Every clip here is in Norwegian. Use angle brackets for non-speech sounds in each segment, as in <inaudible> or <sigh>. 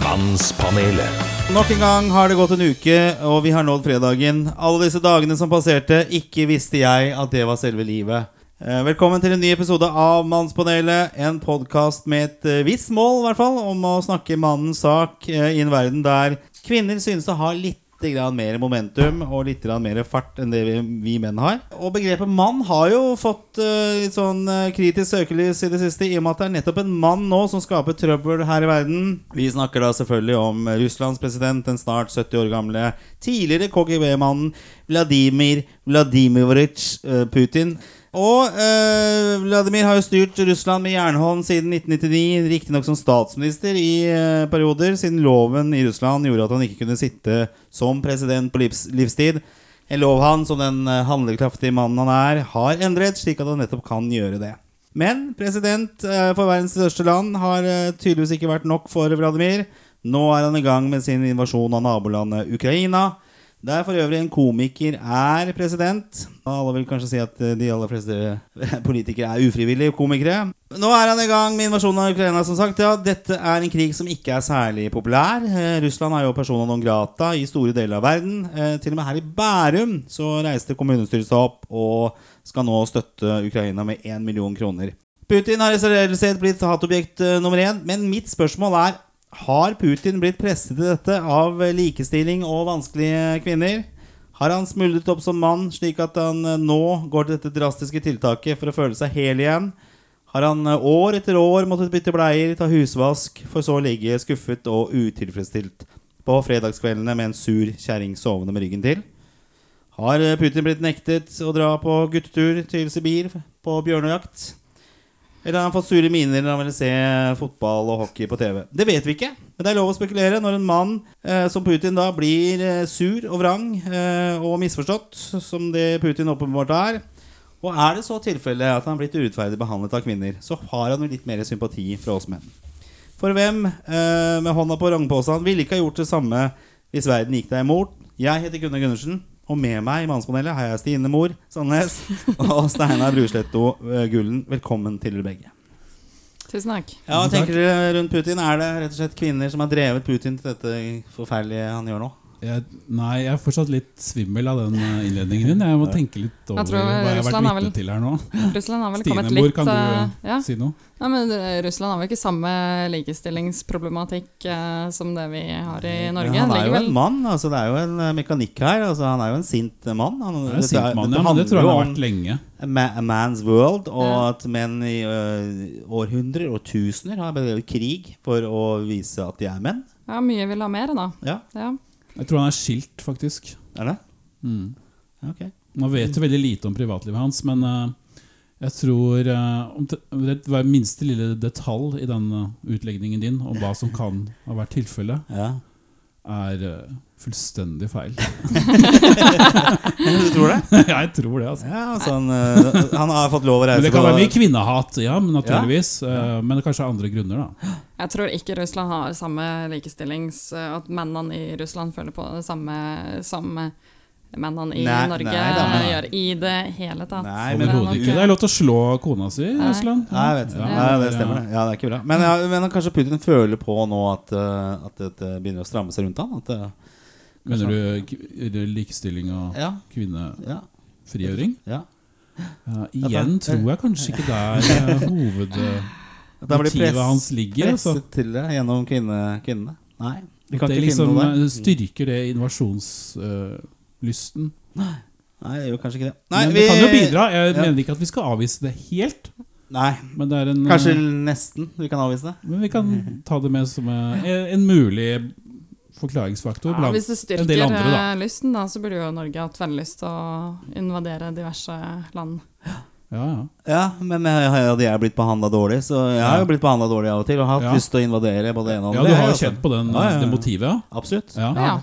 Mannspanelet. Nok en gang har det gått en uke, og vi har nådd fredagen. Alle disse dagene som passerte, ikke visste jeg at det var selve livet. Eh, Velkommen til en ny episode av Mannspanelet. En podkast med et eh, visst mål, i hvert fall, om å snakke mannens sak eh, i en verden der kvinner synes å ha litt grann mer momentum og litt grann mer fart enn det vi, vi menn har. Og begrepet mann har jo fått eh, litt sånn eh, kritisk søkelys i det siste, i og med at det er nettopp en mann nå som skaper trøbbel her i verden. Vi snakker da selvfølgelig om eh, Russlands president, den snart 70 år gamle tidligere KGB-mannen Vladimir Vladimirovitsj eh, Putin. Og eh, Vladimir har jo styrt Russland med jernhånd siden 1999, riktignok som statsminister i eh, perioder, siden loven i Russland gjorde at han ikke kunne sitte som president på livs livstid. En lov han, som den eh, handlekraftige mannen han er, har endret, slik at han nettopp kan gjøre det. Men president eh, for verdens største land har eh, tydeligvis ikke vært nok for Vladimir. Nå er han i gang med sin invasjon av nabolandet Ukraina. Der for øvrig en komiker er president. Alle vil kanskje si at eh, de aller fleste <laughs> politikere er ufrivillige komikere. Nå er han i gang med invasjonen av Ukraina, som sagt. Ja, dette er en krig som ikke er særlig populær. Eh, Russland er jo persona non grata i store deler av verden. Eh, Til og med her i Bærum så reiste kommunestyret seg opp og skal nå støtte Ukraina med 1 million kroner. Putin har i særdeleshet blitt hatobjekt eh, nummer én, men mitt spørsmål er Har Putin blitt presset til dette av eh, likestilling og vanskelige kvinner? Har han smuldret opp som mann, slik at han eh, nå går til dette drastiske tiltaket for å føle seg hel igjen? Har han eh, år etter år måttet bytte bleier, ta husvask, for så å ligge skuffet og utilfredsstilt på fredagskveldene med en sur kjerring sovende med ryggen til? Har eh, Putin blitt nektet å dra på guttetur til Sibir på bjørnejakt? Eller har han fått sure miner når han ville se fotball og hockey på TV? Det vet vi ikke, men det er lov å spekulere. Når en mann eh, som Putin da blir eh, sur og vrang eh, og misforstått, som det Putin åpenbart er, og er det så tilfelle at han har blitt urettferdig behandlet av kvinner, så har han jo litt mer sympati fra oss menn. For hvem eh, med hånda på rangposen ville ikke ha gjort det samme hvis verden gikk deg imot? Jeg heter Gunnar Gundersen, og med meg i Mannspanelet har jeg Stine Mor Sandnes <laughs> og Steinar Brusletto eh, Gullen. Velkommen til dere begge. Tusen takk. Ja, hva tenker dere rundt Putin? Er det rett og slett kvinner som har drevet Putin til dette forferdelige han gjør nå? Jeg, nei, jeg er fortsatt litt svimmel av den eh, innledningen din. Jeg må tenke litt over Jeg tror hva jeg har Russland vært har vitne vel- til her nå. Russland har vel Stine, kommet hvor litt kan du eh, ja. si noe? Nei, men eh, Russland har vel ikke samme likestillingsproblematikk eh, som det vi har i Norge. Men han er Ligger jo vel- en mann. Altså, det er jo en eh, mekanikk her. Altså, han er jo en sint eh, mann. Han, Det er en dette sint er- mann, dette ja, men det tror jeg han handler jo har vært lenge. om ma- A man's world, og Ja. at menn i eh, århundrer og tusener har bedrevet krig for å vise at de er menn. Ja, mye vil ha mer, da. Ja, Ja. Jeg tror han er skilt, faktisk. er det? Mm. Ok. Man vet jo veldig lite om privatlivet hans, men eh, jeg tror eh, om det- om det var minste lille detalj i den eh, utlegningen din om hva som kan ha vært tilfellet, Ja. er eh, fullstendig feil. <laughs> Du tror det? jeg tror det, altså. <laughs> Ja, altså han, eh, han har fått lov å reise Men det kan på- være mye kvinnehat, ja, men naturligvis. eh, Men det kanskje er andre grunner, da. Jeg tror ikke Russland har samme likestillings... eh, At mennene i Russland føler på det samme som mennene i Nei, Norge nei da, men- gjør i det hele tatt. Nei, men- Det er nok, eh, Overhodet ikke. Det er lov til å slå kona si i Nei. Russland. Nei, jeg vet det. Ja, Ja, det stemmer, det. Ja, det er ikke bra. Men, ja, men kanskje Putin føler på nå at, eh, at det begynner å stramme seg rundt han? At, eh, Mener du k- er det likestilling og ja, kvinnefrigjøring? ja, ja. Ja, igjen tror jeg kanskje ikke <laughs> det er eh, hovedmotivet At det blir press, hans ligger. Altså. presset til det gjennom kvinne, kvinnene? Nei. Vi kan Det ikke liksom finne noe der. eh, styrker det invasjonslysten. Nei, det gjør kanskje ikke det. Nei, Men det kan jo bidra. Jeg Ja. mener ikke at vi skal avvise det helt, Nei, men det er en eh, kanskje nesten. Vi kan avvise det. Men vi kan ta det med som eh, en mulig forklaringsfaktor. Ja, blant- hvis det en del styrker andre, da. eh, lysten, da, så burde jo Norge hatt veldig lyst til å invadere diverse land. Ja, ja. Ja, men eh, hadde jeg blitt behandla dårlig, så jeg har jo blitt behandla dårlig av og til. Og hatt Ja. lyst til å invadere både det ene og ja, andre. du har jo altså. kjent på den, Ja, ja, ja. det motivet. ja. Absolutt. Ja. Ja.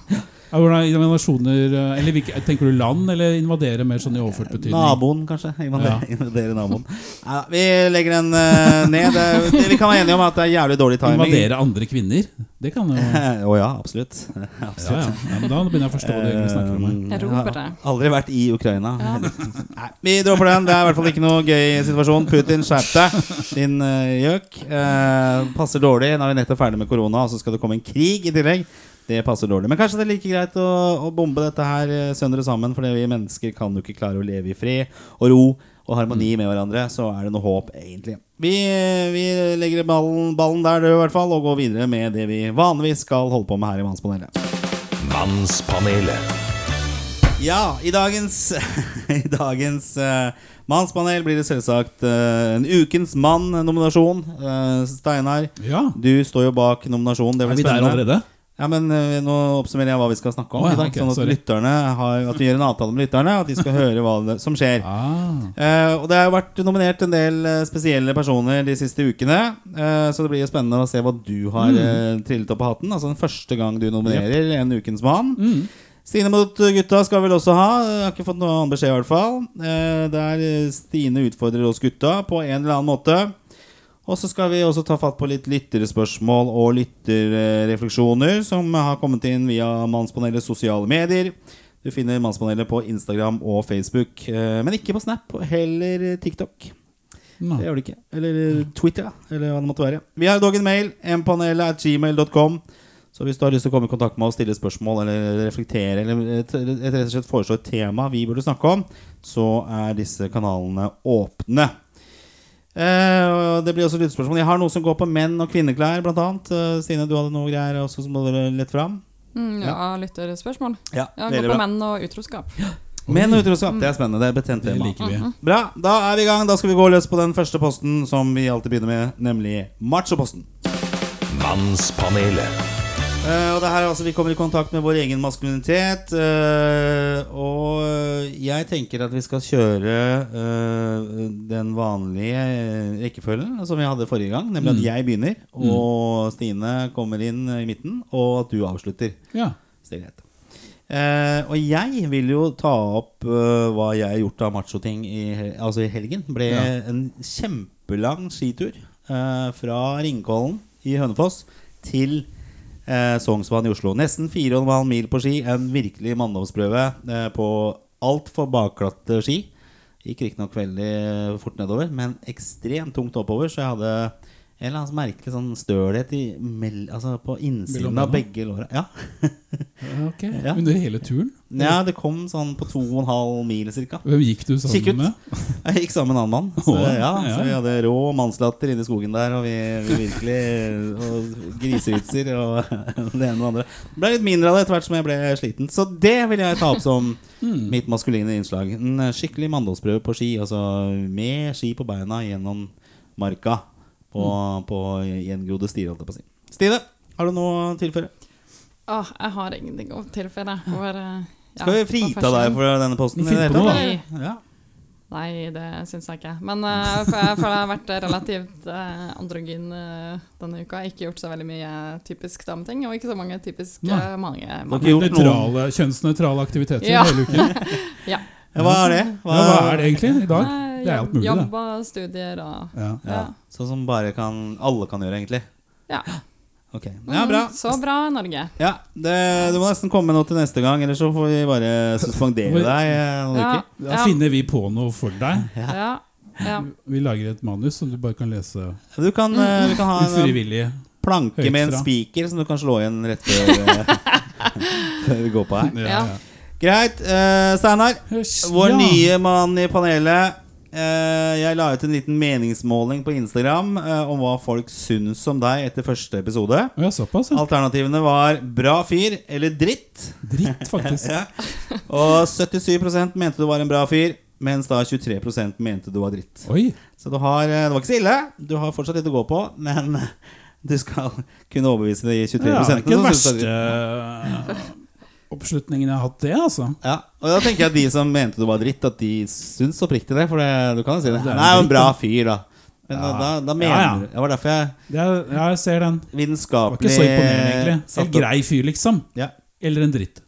Ja, Hvordan er invasjoner eh, Eller hvilke- tenker du land, eller invadere mer sånn i overført betydning? Naboen, kanskje. Invadere, <laughs> invadere naboen. Ja, vi legger den eh, ned. Det, det vi kan være enige om, er at det er jævlig dårlig timing. Invadere andre kvinner? Det kan jo ja, <laughs> Å <laughs> ja, absolutt. ja. absolutt. ja, men Da begynner jeg å forstå hva du egentlig snakker om. her. Eh, Erobere. jeg har Aldri vært i Ukraina. Ja. Nei, vi dropper den. Det er i hvert fall ikke noe gøy situasjon. Putin, skjerp deg, din eh, gjøk. Eh, passer dårlig. Nå er vi nettopp ferdig med korona, og så skal det komme en krig i tillegg. Det passer dårlig. Men kanskje det er like greit å, å bombe dette her eh, sønder og sammen, fordi vi mennesker kan jo ikke klare å leve i fred og ro og harmoni med hverandre. Så er det noe håp, egentlig. Vi, eh, vi legger ballen, ballen der, død, i hvert fall, og går videre med det vi vanligvis skal holde på med her i Mannspanelet. Mannspanelet. Ja, i dagens, <laughs> i dagens eh, mannspanel blir det selvsagt eh, en ukens mann-nominasjon. Eh, Steinar, Ja, du står jo bak nominasjonen. Det Er blir vi der spennende. allerede? Ja, men eh, Nå oppsummerer jeg hva vi skal snakke om. Å, ja, i dag, ok, sånn at, sorry. lytterne har, at vi gjør en avtale med lytterne, at de <laughs> skal høre hva det, som skjer. Ah, Eh, og det har jo vært nominert en del eh, spesielle personer de siste ukene. eh, så det blir jo spennende å se hva du har eh, trillet opp av hatten. Altså den første gang du nominerer en ukens mann. Stine mot gutta skal vi vel også ha. Jeg har ikke fått noen annen beskjed, i hvert fall. Eh, der eh, Stine utfordrer oss gutta på en eller annen måte. Og så skal vi også ta fatt på litt lytterspørsmål og lytterrefleksjoner som har kommet inn via Mannspanelets sosiale medier. Du finner Mannspanelet på Instagram og Facebook, eh, men ikke på Snap eller TikTok. Mm. no. Det gjør det ikke. Eller eh, Twitter, da. Eller hva det måtte være. Vi har dog en mail, mpanelet.gmail.com. Så hvis du har lyst til å komme i kontakt med oss, stille spørsmål eller reflektere, eller et- et- rett og slett foreslå et tema vi burde snakke om, så er disse kanalene åpne. Eh, og det blir også lyttespørsmål. Jeg har noe som går på menn og kvinneklær, blant annet. Eh, Stine, du hadde noe greier også som var lett fram? Mm, ja, lytterspørsmål. Ja, Ja, veldig bra. Gå på Mm. menn og utroskap. Menn og utroskap, det er spennende. Det er et betent Det tema. liker Mhm. vi. Bra, da er vi i gang. Da skal vi gå løs på den første posten som vi alltid begynner med, nemlig machoposten. Mannspanelet. Eh, og det her er altså Vi kommer i kontakt med vår egen maskulinitet. eh, og eh, jeg tenker at vi skal kjøre eh, den vanlige eh, rekkefølgen som vi hadde forrige gang. Nemlig at jeg begynner, og Stine kommer inn eh, i midten, og at du avslutter. Ja. Stillhet. Eh, og jeg vil jo ta opp eh, hva jeg har gjort av machoting i, hel- altså i helgen. Ble Ja. en kjempelang skitur eh, fra Ringkollen i Hønefoss til eh, Sognsvann i Oslo. Nesten 4,5 mil på ski. En virkelig manndomsprøve eh, på altfor bakglatte ski. Gikk riktignok veldig fort nedover, men ekstremt tungt oppover. Så jeg hadde en eller annen merkelig sånn stølhet i, mell- altså på innsiden Mellom av bena? begge låra. Ja. Ok, Ja. Under hele turen? Ja, det kom sånn på to og en halv mil cirka Hvem gikk du Kikk ut. sammen med? <laughs> Jeg gikk sammen med en annen mann så, Åh, ja, ja. så vi hadde rå mannslatter inne i skogen der Og vi, vi virkelig og Grisevitser og <laughs> det ene og det andre Det ble litt mindre av det etter hvert som jeg ble sliten Så det vil jeg ta opp som Hmm. mitt maskuline innslag En eh, skikkelig mandagsprøve på ski Altså med ski på beina gjennom marka På, Hmm. på gjengrodde stier holdt jeg på å si Stine, har du noe å tilføre? Åh, jeg har ingenting å tilføye. jeg får, eh, ja, Skal vi på frita første- deg for denne posten? i Finn det på hele noe, tatt? Ja Nei, det syns jeg ikke. Men eh, for jeg føler jeg har vært relativt eh, androgyn eh, denne uka. Ikke gjort så veldig mye typisk dameting, og ikke så mange typisk Nei. eh, mange har mann. ikke gjort noe Nøytrale, kjønnsnøytrale aktiviteter Ja. hele uken? Ja, Ja, Hva er det? hva er det egentlig i dag? Nei, Det er alt mulig, det. Jobb og studier og Ja. Ja. Sånn som bare kan, alle kan gjøre, egentlig. Ja. Ok, ja, bra. Mm, Så bra, Norge. Ja, det, du må nesten komme med noe til neste gang, ellers så får vi bare suspendere deg eh, noen Ja, uker. Da finner vi på noe for deg. ja, ja. Vi lager et manus som du bare kan lese Du kan, eh, vi kan ha en eh, ufrivillig. planke med en høyt fra. spiker som du kan slå igjen rett <laughs> før, eh, før vi går på her. Ja, Ja. ja. Greit. eh, Steinar, Hørs, vår ja. nye mann i panelet. Eh, jeg la ut en liten meningsmåling på Instagram eh, om hva folk syns om deg etter første episode. Å ja, såpass, ja. Alternativene var bra fyr eller dritt. Dritt, faktisk. <laughs> Ja. Og 77 mente du var en bra fyr, mens da 23 mente du var dritt. Oi. Så du har, eh, det var ikke så ille. Du har fortsatt litt å gå på, men <laughs> du skal kunne overbevise de 23 Ja, det er ikke som den synes du er dritt. verste eh, oppslutningen jeg har hatt, det, altså. Ja, og da tenker jeg at de som mente du var dritt, at de syns oppriktig det. For det, du kan jo si det. Det er Han er jo en dritt, bra da. fyr, da. Men da, Ja. da, da mener Ja, ja. du Det var derfor jeg Det er, ja, jeg ser den. Det var vitenskapelig ikke så imponerende, egentlig. satte En opp- grei fyr, liksom. Ja. Eller en dritt.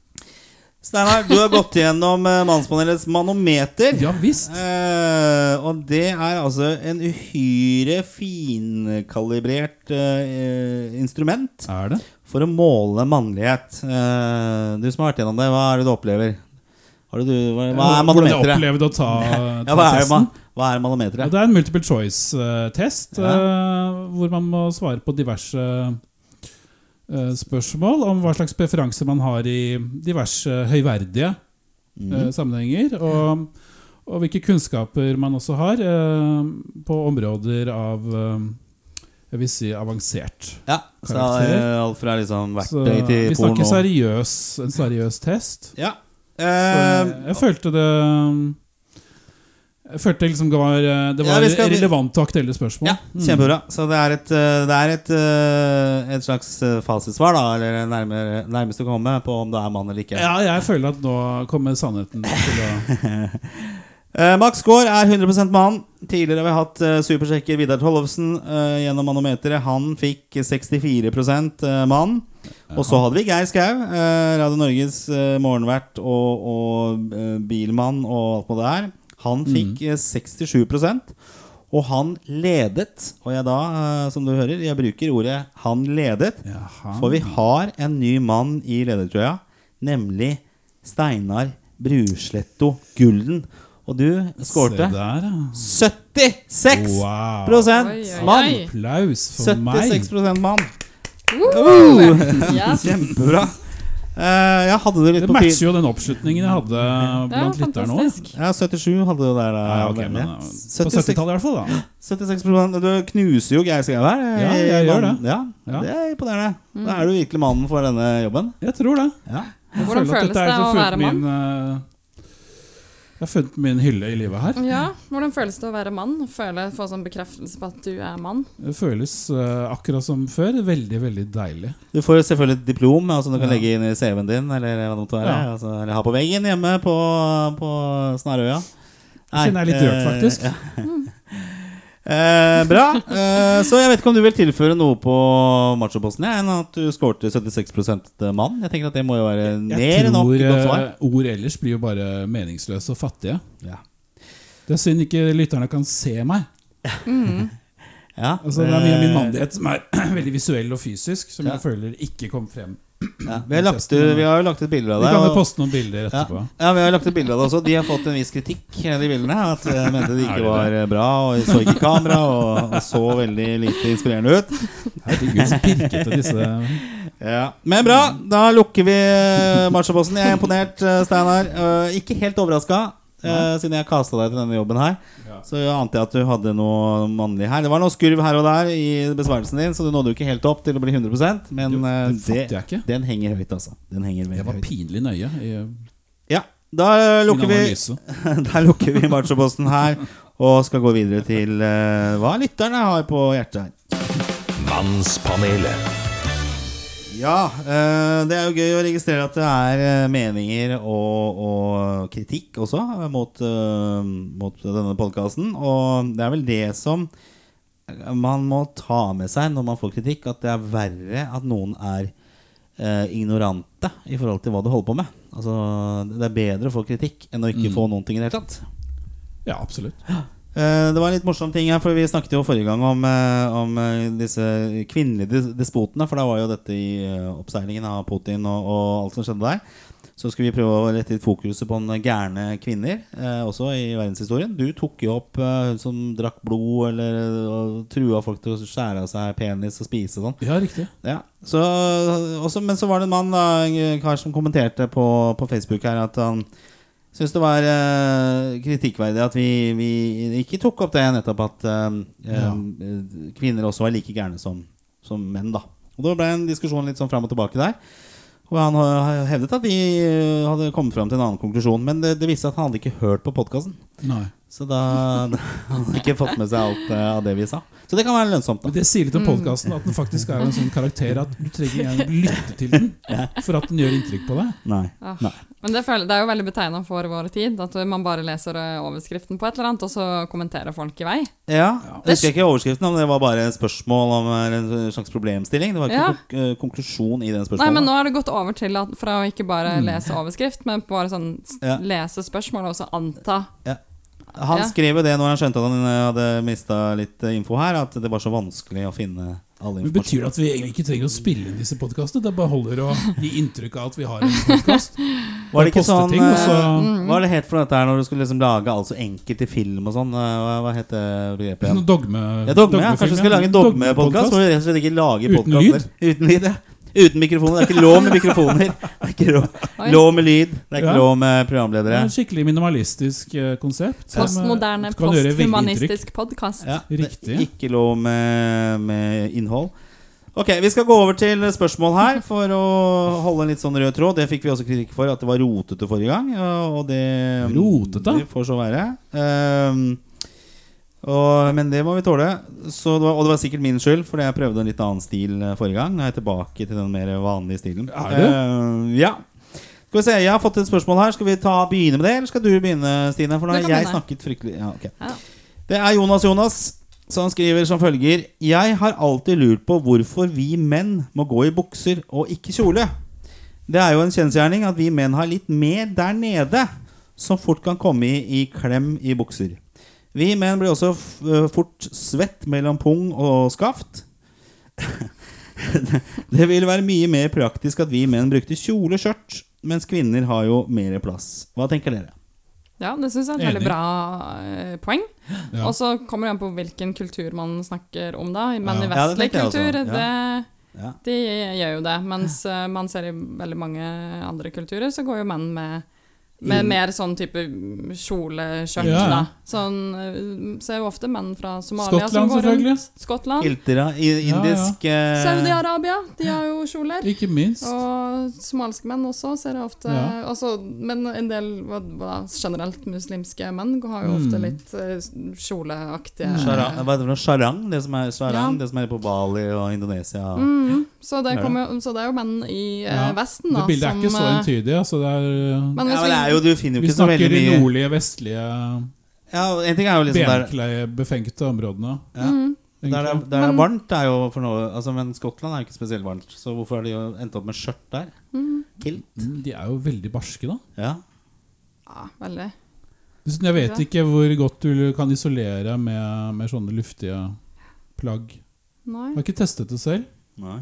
Steinar, du har gått gjennom eh, Mannspanelets manometer. Ja visst! Eh, og det er altså en uhyre finkalibrert eh, instrument Er det? for å måle mannlighet. Eh, du som har vært gjennom det, hva er det du opplever? Har du, hva, hva er Hvordan jeg manometeret? opplevde å ta, ta <laughs> Ja, hva er, testen? ma- hva er Ja, manometeret? det er en multiple choice-test eh, hvor man må svare på diverse eh, spørsmål om hva slags preferanser man har i diverse høyverdige Mhm. Mm. eh, sammenhenger. Og, og hvilke kunnskaper man også har eh, på områder av eh, jeg vil si avansert. Ja, så det er alt fra liksom Så verktøy til vi snakker porno. seriøs, en seriøs test. Ja. Så Eh, jeg, jeg følte det jeg følte det liksom var, eh, det Ja, var vi skal- relevante og aktuelle spørsmål. Ja, kjempebra. Så det er et, eh, det er et, eh, et slags eh, fasitsvar, da, eller nærmere, nærmest å komme, på om det er mann eller ikke. Ja, jeg føler at nå kommer sannheten til å Eh, Max Gaard er 100 mann. Tidligere har vi hatt eh, supersjekker Vidar Tollefsen eh, gjennom manometeret. Han fikk 64 eh, mann. Og så hadde vi Geir Skau, eh, Radio Norges eh, morgenvert og, og eh, bilmann og alt på det her. Han fikk eh, 67 og han ledet, og jeg da, eh, som du hører, jeg bruker ordet 'han ledet', Jaha. for vi har en ny mann i ledertrøya, nemlig Steinar Brusletto Gulden. Og du Se <laughs> skårte der, ja. 76 Oi, Wow. oi, prosent oi. mann! Applaus for 76 meg. prosent mann. Uh, Woo! Yes. <laughs> Kjempebra. Eh, jeg hadde det litt Det på matcher fil. jo den oppslutningen jeg hadde Det er blant lytterne òg. fantastisk. Ja, 77 hadde du der. Da, Ja, ok, Daniel. men, eh, på 76 70-tallet i hvert fall, da. 76 prosent. Du knuser jo Geir Skau her. eh, Ja, i jeg gjør mannen. Ja, Ja. Det er imponerende. Da er du virkelig mannen for denne jobben. Jeg tror det. Ja. Jeg Hvordan føler at føles dette er det å liksom være funnet mann? min, eh, Jeg har funnet min hylle i livet her. Ja, Hvordan føles det å være mann? Føle, få sånn bekreftelse på at du er mann? Det føles eh, akkurat som før. Veldig, veldig deilig. Du får jo selvfølgelig et diplom ja, som du kan Ja. legge inn i CV-en din, eller hva det måtte være. Ja. Altså, eller ha på veggen hjemme på, på Snarøya. Jeg kjenner jeg er litt rørt, faktisk. eh, ja. Eh, bra. Eh, så jeg vet ikke om du vil tilføre noe på machoposten, ja, enn at du skårte 76 mann. Jeg tenker at det må jo være Jeg mer enn nok tror godt svar. eh, ord ellers blir jo bare meningsløse og fattige. Ja. Det er synd ikke lytterne kan se meg. Ja, Altså, det er mye av min eh, mandighet som er <clears throat> veldig visuell og fysisk, som Ja. jeg føler ikke kom frem. ja. Eh, vi, har lagt, ut- vi har jo lagt ut bilder av Vi deg. kan jo og- poste noen bilder Ja. etterpå. ja, vi har lagt ut bilder av det også. De har fått en viss kritikk, de bildene. At <laughs> jeg mente de Er ikke det var bra, og så ikke kamera, og, og så veldig lite inspirerende ut. Herregud, så pirkete disse <laughs> Ja. Men bra, da lukker vi machoposten. Jeg er imponert, eh, Steinar. Eh, Ikke helt overraska, eh, siden jeg kasta deg til denne jobben her. Ja. Så jeg ante jeg at du hadde noe mannlig her. Det var noe skurv her og der i besvarelsen din, så du nådde jo ikke helt opp til å bli 100 men Jo, eh, den fatter det, jeg ikke. den henger høyt, altså. Den henger veldig Jeg var høyt. pinlig nøye i eh, Ja, da min lukker vi analyse. <laughs> Der lukker vi machoposten her og skal gå videre til eh, hva lytterne har på hjertet her. Mannspanelet. Ja, eh, det er jo gøy å registrere at det er eh, meninger og, og kritikk også eh, mot, eh, mot denne podkasten. Og det er vel det som eh, man må ta med seg når man får kritikk, at det er verre at noen er eh, ignorante i forhold til hva du holder på med. Altså, det er bedre å få kritikk enn å ikke få noen ting i det hele tatt. Ja, absolutt. Eh, Det var en litt morsom ting her, for vi snakket jo forrige gang om, eh, om eh, disse kvinnelige des- despotene. For da var jo dette i eh, oppseilingen av Putin og, og alt som skjedde der. Så skulle vi prøve å rette litt fokuset på den gærne kvinner, eh, også i verdenshistorien. Du tok jo opp eh, hun som drakk blod eller eh, og trua folk til å skjære av seg penis og spise og sånn. Ja, riktig. Ja, så, også, Men så var det en mann da, en kar som kommenterte på, på Facebook her at han syntes det var eh, kritikkverdig at vi, vi ikke tok opp det nettopp at eh, eh, Ja. kvinner også var like gærne som, som menn. da Og Da ble en diskusjon litt sånn fram og tilbake der. Og han eh, hevdet at vi eh, hadde kommet fram til en annen konklusjon, men det, det viste seg at han hadde ikke hørt på podkasten. Nei. Så da, <laughs> da har han ikke fått med seg alt eh, av det vi sa. Så det kan være lønnsomt, Men da. det sier litt om Mm. podkasten, at den faktisk er en sånn karakter at du trenger gjerne lytte til den for at den gjør inntrykk på deg. Nei. Ah. Nei. Men det, føler, det er jo veldig betegna for vår tid, at man bare leser eh, overskriften på et eller annet, og så kommenterer folk i vei. Ja, Jeg husker ikke overskriften, men det var bare et spørsmål om eh, en slags problemstilling. Det var ikke Ja. noen kon- eh, konklusjon i den Nei, men spørsmålet. Mm. nå har det gått over til at fra å ikke bare lese overskrift, men bare sånn s- Ja. lese spørsmål og så anta. han ja. skrev jo det når han skjønte at han eh, hadde mista litt eh, info her, at det var så vanskelig å finne all Men informasjon. Betyr det at vi egentlig ikke trenger å spille inn disse podkastene? Det bare holder å gi inntrykk av at vi har en podkast? Var det ikke poste sånn ting, altså? og eh, så- Mm-hmm. Hva er det het for dette her når du skulle liksom lage alt så enkelt i film og sånn? Eh, Hva, hva het det begrepet igjen? Sånn dogme... Ja, dogme, ja. Kanskje vi skal lage en dogmepodkast? dogmepodcast? Hvor vi rett og slett ikke lager Uten podkaster. Uten lyd? ja. Uten mikrofoner. Det er ikke lov med mikrofoner. Det er ikke lov, Oi. lov med lyd. Det er ikke Ja. lov med Det programledere. er et skikkelig minimalistisk eh, konsept. som, eh, Postmoderne, kan gjøre veldig inntrykk. posthumanistisk podkast. Ja, det er Riktig. Ikke lov med, med innhold. Ok, Vi skal gå over til spørsmål her for å holde en litt sånn rød tråd. Det fikk vi også kritikk for, at det var rotete forrige gang. Og det, Rotete? det får så være. Ehm, og, men det må vi tåle. Så det var, og det var sikkert min skyld, fordi jeg prøvde en litt annen stil eh, forrige gang. Nå er jeg tilbake til den mer vanlige stilen. Er du? Ehm, ja. Skal vi se, Jeg har fått et spørsmål her. Skal vi ta, begynne med det, eller skal du begynne, Stine? For nå Du har kan jeg begynne. snakket fryktelig ja, ok. Ja. Det er Jonas Jonas som skriver som følger Jeg har alltid lurt på hvorfor vi menn må gå i bukser og ikke kjole. Det er jo en kjensgjerning at vi menn har litt mer der nede som fort kan komme i, i klem i bukser. Vi menn blir også f eh, fort svett mellom pung og skaft. Det ville være mye mer praktisk at vi menn brukte kjole og skjørt, mens kvinner har jo mer plass. Hå tenker dere? Ja, det syns jeg er et Enig. veldig bra eh, poeng. Ja. Og så kommer det an på hvilken kultur man snakker om, da. Men Ja. i Ja, det vestlig tenkte jeg også. kultur, Ja. det, Ja. de gjør jo det. Mens eh, man ser i veldig mange andre kulturer, så går jo menn med med Mm. mer sånn type kjoleskjørt, Ja, ja. da. Sånn eh, ser jo ofte menn fra Somalia Skottland, som går rundt. selvfølgelig. Skottland. Iltera, i- indisk eh, Saudi-Arabia, de har jo kjoler. Ikke minst. Og somaliske menn også ser jeg ofte Ja. altså, Men en del hva, hva, generelt muslimske menn har jo ofte Mm. litt eh, kjoleaktige Sharang, hva heter det for noe? Sharang, det som er, sharang, Ja. det som er på Bali og Indonesia. Mm, så, det Ja. kommer, jo- så det er jo menn i eh, Ja. Vesten, da. Det bildet er ikke så eh, entydig. Altså det er, Ja, men hvis men det er jo, du finner jo vi ikke så veldig snakker i mye nordlige, vestlige, ja, En ting er jo liksom der, benkleie-befengte områdene. ja, mm, der, det er, egentlig. der det er Men- varmt, er jo for noe altså, Men Skottland er jo ikke spesielt varmt, så hvorfor har de jo endt opp med skjørt der? mm, Kilt? Mm, De er jo veldig barske, da. Ja. ja, veldig. Dessuten, jeg vet Ja. ikke hvor godt du kan isolere med, med sånne luftige plagg. Nei. Jeg har ikke testet det selv. Nei.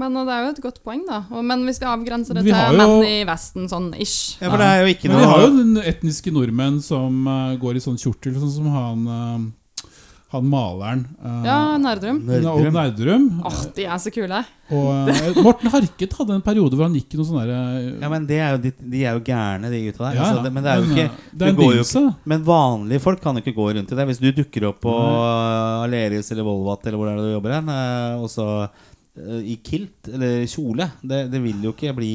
Men eh, det er jo et godt poeng, da. Og, men hvis vi avgrenser det Vi har til jo- menn i Vesten, sånn ish ja, for det er jo ikke Men vi noe har jo den etniske nordmenn som eh, går i sånn kjortel, sånn som han, eh, han maleren. eh, Ja, Ah. Nerdrum. Odd Nerdrum. Nerdrum. Åh, de er så kule. Og eh, Morten Harket hadde en periode hvor han gikk i noe sånn derre Ja, men det er jo, de, de er jo gærne, de gutta der. altså, det, men det er jo ikke eh, Det er en du går jo begynnelse. Men vanlige folk kan jo ikke gå rundt i det. Hvis du dukker opp på uh, Aleris eller Volvat eller hvor det er du jobber hen, eh, og så eh, i kilt eller kjole, det, det vil jo ikke bli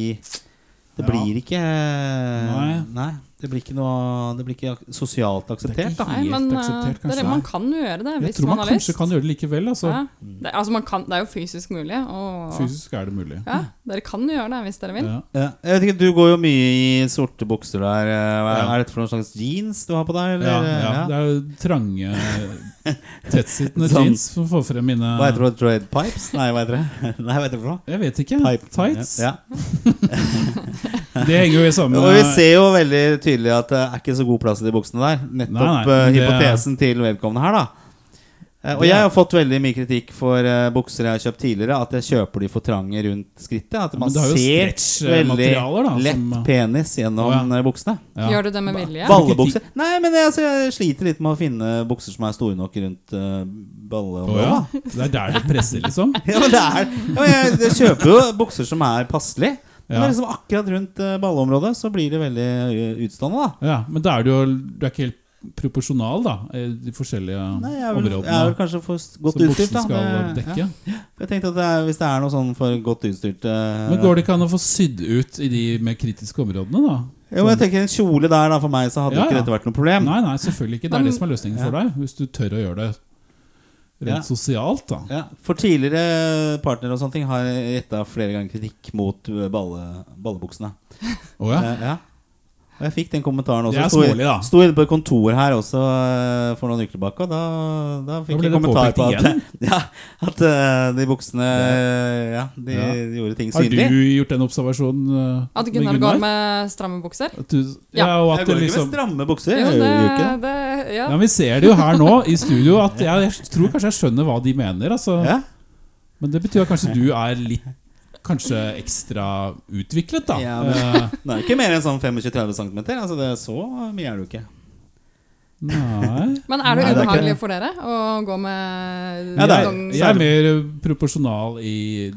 Det Ja. blir ikke Nei. Nei. det blir ikke noe Det blir ikke ak- sosialt akseptert, da. Nei, Helt men eh, akseptert, det, kanskje. man kan jo gjøre det Jeg hvis tror man man har lyst. kanskje kan gjøre det likevel. Altså. Ja. Det, altså man kan, det er jo fysisk mulig. Og, Fysisk er det mulig. Ja, dere kan jo gjøre det hvis dere vil. Ja. Ja. Jeg vet ikke, Du går jo mye i sorte bukser der. eh, hva- Ja. Er dette for noen slags jeans du har på deg? Eller? eh, Ja, ja. Ja. Det er jo trange, <laughs> tettsittende Sånn. jeans som får frem mine Hva heter det? Dread pipes? Nei, hva heter det? <laughs> Nei, hva heter det for noe? Jeg vet ikke. Pipe- Tights. Ja. Det henger jo i samme Og vi ser jo veldig tydelig at det er ikke så god plass i de buksene der. Nettopp Nei, nei, eh, det- hypotesen til vedkommende her, da. Eh, Og Det- jeg har fått veldig mye kritikk for eh, bukser jeg har kjøpt tidligere, at jeg kjøper de for trange rundt skrittet. At man Ja, men det har jo ser veldig stretchmaterialer, da. lett som- penis gjennom Å, eh, buksene. ja. Gjør du det med vilje? Hva- Ballebukser. Nei, men jeg, altså, jeg sliter litt med å finne bukser som er store nok rundt uh, Å balleområdet. ja. da. <laughs> Det er der det presser, liksom? Ja, men det er ja, men jeg, jeg kjøper jo bukser som er passelig. Men Ja. det er liksom akkurat rundt eh, balleområdet så blir det veldig eh, utstående, da. Ja, men da er du jo Du er ikke helt proporsjonal, da, i de forskjellige Nei, jeg er vel, jeg er vel områdene kanskje for s- godt som utstyrt, buksen da. skal Det- dekke. ja. Jeg tenkte at det er, Hvis det er noe sånn for godt utstyrt eh, Men går det ikke an å få sydd ut i de mer kritiske områdene, da? Jo, men jeg tenker En kjole der, da, for meg, så hadde Ja, ikke ja. dette vært noe problem. Nei, nei, selvfølgelig ikke. Det er det som er løsningen for deg. Hvis du tør å gjøre det Ja. rent sosialt, da. Ja, for tidligere partnere og sånne ting har retta flere ganger kritikk mot eh, balle, ballebuksene. Å ja. Eh, ja. Og jeg fikk den kommentaren også. Det er Sto i- smålig, da. Sto inne på et kontor her også eh, for noen uker tilbake, og da, da fikk Da ble jeg det kommentar på påpekt at, <laughs> ja, at eh, de buksene eh, Ja, de Ja. gjorde ting Har du synlig. gjort den observasjonen eh, At med Gunnar går med stramme bukser? At du, Ja. ja, og Jeg at det går ikke liksom med stramme bukser. Jo, jeg det, gjør jo ikke det. det ja. ja, men Vi ser det jo her nå i studio at jeg, jeg tror kanskje jeg skjønner hva de mener. Altså. Ja. Men det betyr at kanskje du er litt Kanskje ekstra utviklet, da. Ja, men- Eh, Det er jo ikke mer enn sånn 25-30 cm. Altså det er så mye er det jo ikke. nei Men er Nei, det det er ikke ubehagelig det. for dere å gå med <laughs> Ja, det er- dong- Jeg er mer proporsjonal i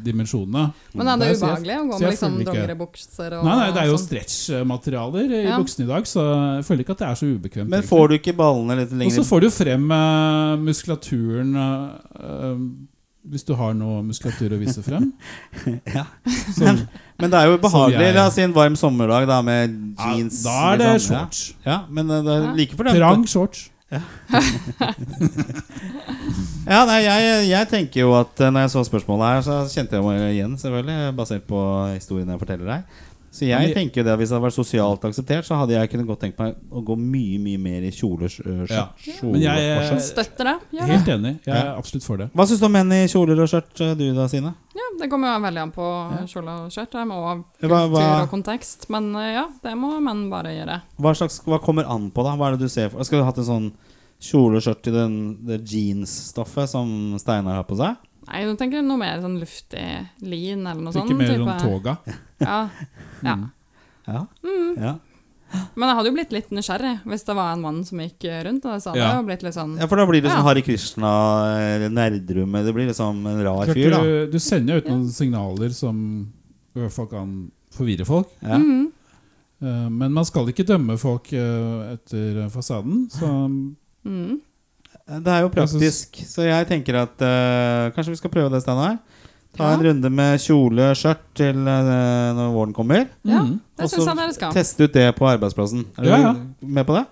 dimensjonene. Men er det Nei, så jeg- ubehagelig å gå så med jeg liksom føler ikke- dongeribukser og Nei, nei, det er jo sånn? stretchmaterialer i Ja. buksene i dag, så jeg føler ikke at det er så ubekvemt. Men får du ikke ballene litt Og så lenger får du frem eh, muskulaturen eh, eh, Hvis du har noe muskulatur å vise frem. <laughs> Ja. Som, Men det er jo behagelig. jeg- La oss si en varm sommerdag da med jeans. da er det liksom. shorts. Ja, ja men eh, det er Ja. like for Trang shorts. Ja, nei, jeg, jeg tenker jo at eh, når jeg så spørsmålet her, så kjente jeg meg igjen, selvfølgelig, basert på historien jeg forteller deg. Så jeg Men jeg- tenker jo det at hvis det hadde vært sosialt akseptert, så hadde jeg kunne godt tenkt meg å gå mye mye mer i kjoler. eh, skjørt- Ja. kjoler Men jeg eh, og skjørt. Støtter det? Ja, er helt enig. Jeg er Ja. absolutt for det. Hva syns du om menn i kjoler og skjørt, eh, du da, Sine? ja, det kommer jo veldig an på kjole og skjørt ja, og Hva, tur og hva, kontekst. Men eh, ja, det må menn bare gjøre. hva, slags, hva kommer an på, da? Hva er det du ser for? Skal du hatt en sånn kjole og skjørt i den, det jeansstoffet som Steinar har på seg? Nei, du tenker noe mer sånn luftig lin eller noe sånt. Ikke mer sånn type. toga. Ja. ja. Mm. Ja. Mm. ja. Men jeg hadde jo blitt litt nysgjerrig hvis det var en mann som gikk rundt. Og så hadde Ja. jeg jo blitt litt sånn Ja, for da blir det Ja. sånn Hare Krishna, eh, nerdrum Det blir liksom en rar Klart fyr, da. du, du sender jo ut noen signaler som i hvert fall kan forvirre folk. Ja. Mm. Eh, Men man skal ikke dømme folk eh, etter fasaden. Så mm. Eh, Det er jo Altså praktisk, så jeg tenker at eh, kanskje vi skal prøve det, Steinar. Ta Ja. en runde med kjole, skjørt til eh, når våren kommer. Ja, mm, Det Også syns jeg dere skal. Teste ut det på arbeidsplassen. Er du Ja, ja. med på det?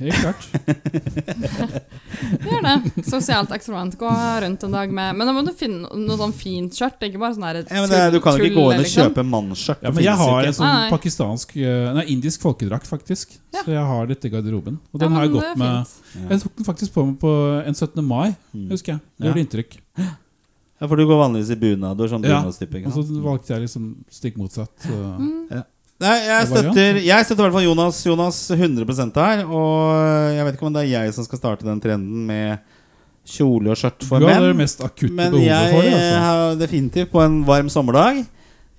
helt klart. Gjør det. Sosialt eksperiment. Gå rundt en dag med Men da må du finne no- noe sånn fint skjørt. Ikke bare sånn her Ja, men det er, du kan jo ikke gå inn og liksom. sånn. kjøpe mannsskjørt. Ja, det men jeg finnes jo har ikke. en sånn Nei, nei. pakistansk eh, Nei, indisk folkedrakt, faktisk. Ja. Så jeg har dette i garderoben. Og den har jeg gått med Jeg tok den faktisk på meg på en 17. mai, Mm. husker jeg. Det Ja. gjorde inntrykk. Ja, for du går vanligvis i bunad og sånn Ja, bunadstype. Og så valgte jeg liksom stikk motsatt. så- Mm. Nei, jeg Det var jo- støtter, jeg støtter i hvert fall Jonas, Jonas 100 her. Og jeg vet ikke om det er jeg som skal starte den trenden med kjole og skjørt for Du hadde det menn. mest akutte Men behovet jeg for det. Altså. har definitivt på en varm sommerdag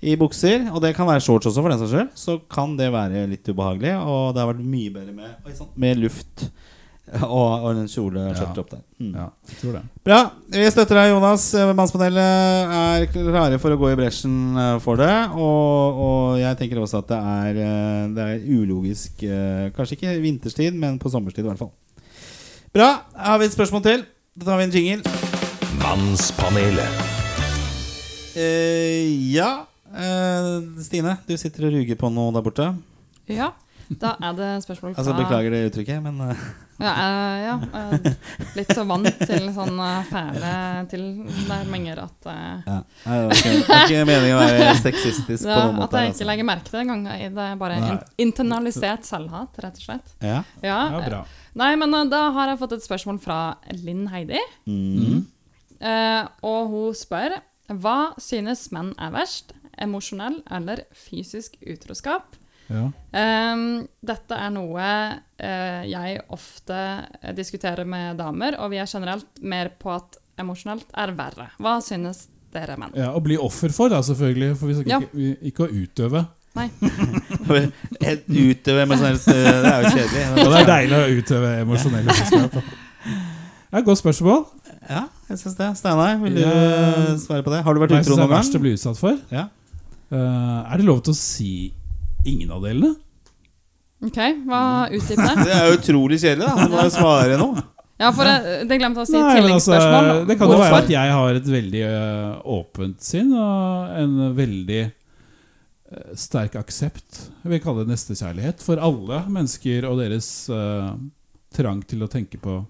i bukser, og det kan være shorts også, for den saks skyld, så kan det være litt ubehagelig. Og det har vært mye bedre med, oi, sant, med luft og, og en kjole og skjørt Ja. opp der. Mm. Ja, jeg tror det. Bra. Vi støtter deg, Jonas. Mannspanelet er klare for å gå i bresjen eh, for det. Og, og jeg tenker også at det er, eh, det er ulogisk eh, Kanskje ikke vinterstid, men på sommerstid i hvert fall. Bra. Har vi et spørsmål til? Da tar vi en jingle. Mannspanelet. Eh, ja. Eh, Stine, du sitter og ruger på noe der borte. Ja. Da er det spørsmål fra Altså, Beklager det uttrykket, men eh, Ja, eh, ja eh, litt så vant til sånn eh, fæle til der menger at eh, ja. Nei, Det var ikke, det var ikke meningen å være sexistisk ja, på noen At måte. her, jeg ikke altså. legger merke til det engang. Det er bare Nei. in- internalisert selvhat, rett og slett. Ja. <laughs> Ja, Ja, bra. eh, Nei, men eh, da har jeg fått et spørsmål fra Linn Heidi. Mm. Eh, og hun spør Hva synes menn er verst? Emosjonell eller fysisk utroskap? Ja. Ehm, dette er noe eh, jeg ofte diskuterer med damer, og vi er generelt mer på at emosjonelt er verre. Hva synes dere menn? ja, Og bli offer for, da, selvfølgelig. For vi skal Ja. ikke, vi, ikke å utøve. Nei. Helt utover emosjonelt eh, Det er jo kjedelig. <laughs> Og det er deilig å utøve emosjonelle selskap. da. Ja, godt spørsmål. Ja, jeg syns det. Steinar, vil du Ja. svare på det? Har du vært Hva utro er det noen verst å gang? bli utsatt for? Ja. Eh, er det lov til å si ingen av delene? Ok, hva utdyper det? Det er jo utrolig kjedelig, da. Du må jo svare noe. Ja, for eh, det, det glemte jeg å si. Nei, men altså, Tilleggsspørsmål. det kan jo være Hvorfor? eh, at jeg har et veldig ø, åpent sinn og en veldig eh, sterk aksept, jeg vil kalle det nestekjærlighet, for alle mennesker og deres eh, trang til å tenke på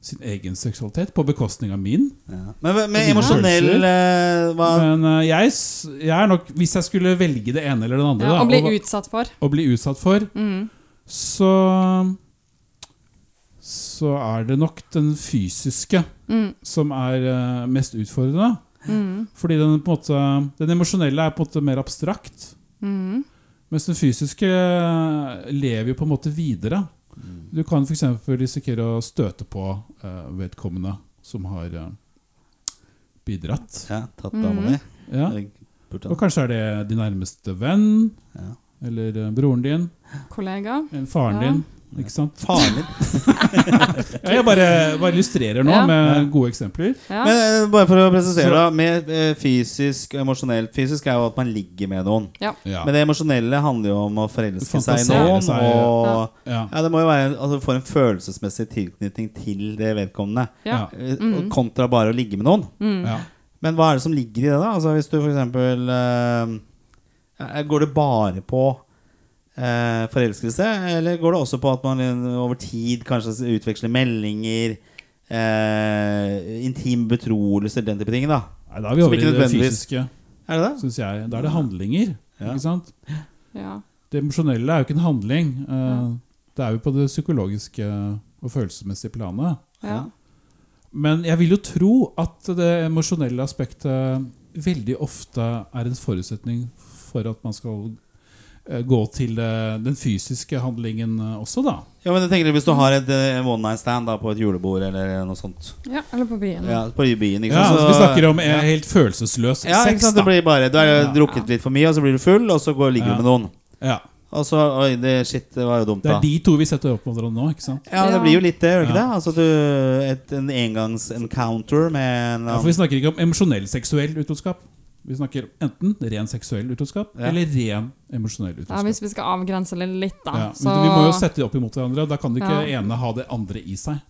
sin egen seksualitet på bekostning av min. Ja. Men, men, men Dine emosjonell eh, hva, Men eh, jeg, s- jeg er nok Hvis jeg skulle velge det ene eller den andre Ja, da, å bli og- utsatt for. å bli utsatt for, Mm. så Så er det nok den fysiske Mm. som er eh, mest utfordrende. Mm. Fordi den, på en måte, den emosjonelle er på en måte mer abstrakt. Mm. Mens den fysiske eh, lever jo på en måte videre. Mm. Du kan f.eks. risikere å støte på eh, vedkommende som har eh, bidratt. Ja, tatt dama di. Ja. Eller pult Og han. kanskje er det din nærmeste venn, Ja. eller eh, broren din, Kollega. eller faren Ja. din. Ikke sant? Faren din. Ja, jeg bare, bare illustrerer nå Ja. med gode eksempler. Ja. Men eh, bare for å presisere, Så- da. Med eh, fysisk og emosjonelt Fysisk er jo at man ligger med noen. Ja. Men det emosjonelle handler jo om å forelske seg i Fantasere noen. seg, ja. og Ja. ja, det må jo være altså, Du får en følelsesmessig tilknytning til det vedkommende. ja. Eh, Mm. Kontra bare å ligge med noen. Mm. Ja. Men hva er det som ligger i det, da? Altså, hvis du for eksempel eh, Går det bare på eh, forelskelse, eller går det også på at man eh, over tid kanskje utveksler meldinger? eh, intim betroelser, den type ting, da. Nei, da er vi Som over ikke i det nødvendigvis- fysiske, Er det det? syns jeg. Da er det handlinger. Ja. Ikke sant? Ja. Det emosjonelle er jo ikke en handling. eh, Ja. Det er jo på det psykologiske og følelsesmessige planet. Ja. Men jeg vil jo tro at det emosjonelle aspektet veldig ofte er en forutsetning for at man skal eh, gå til eh, den fysiske handlingen eh, også, da. Ja, men jeg tenker Hvis du har et eh, one night stand da, på et julebord eller noe sånt ja. Eller på byen. ja, På byen, ikke Ja, sant? altså, Så- vi snakker om eh, helt følelsesløs ja, ikke sex, sant? da. Det blir bare, Du har jo Ja. drukket litt for mye, og så blir du full, og så går, ligger Ja. du med noen. Ja. Og så Oi, det, shit, det var jo dumt, Det da. er de to vi setter opp mot hverandre nå. ikke sant? Ja, det Ja. blir jo litt det, gjør det ikke Ja. det? Altså du, et, En engangs-encounter med en Ja, for Vi snakker ikke om emosjonell seksuell utroskap. Vi snakker enten ren seksuell utroskap Ja. eller ren emosjonell utroskap. Ja, hvis vi skal avgrense det litt, da. Ja, men så Vi må jo sette det opp imot hverandre. Da kan det ikke Ja. ene ha det andre i seg.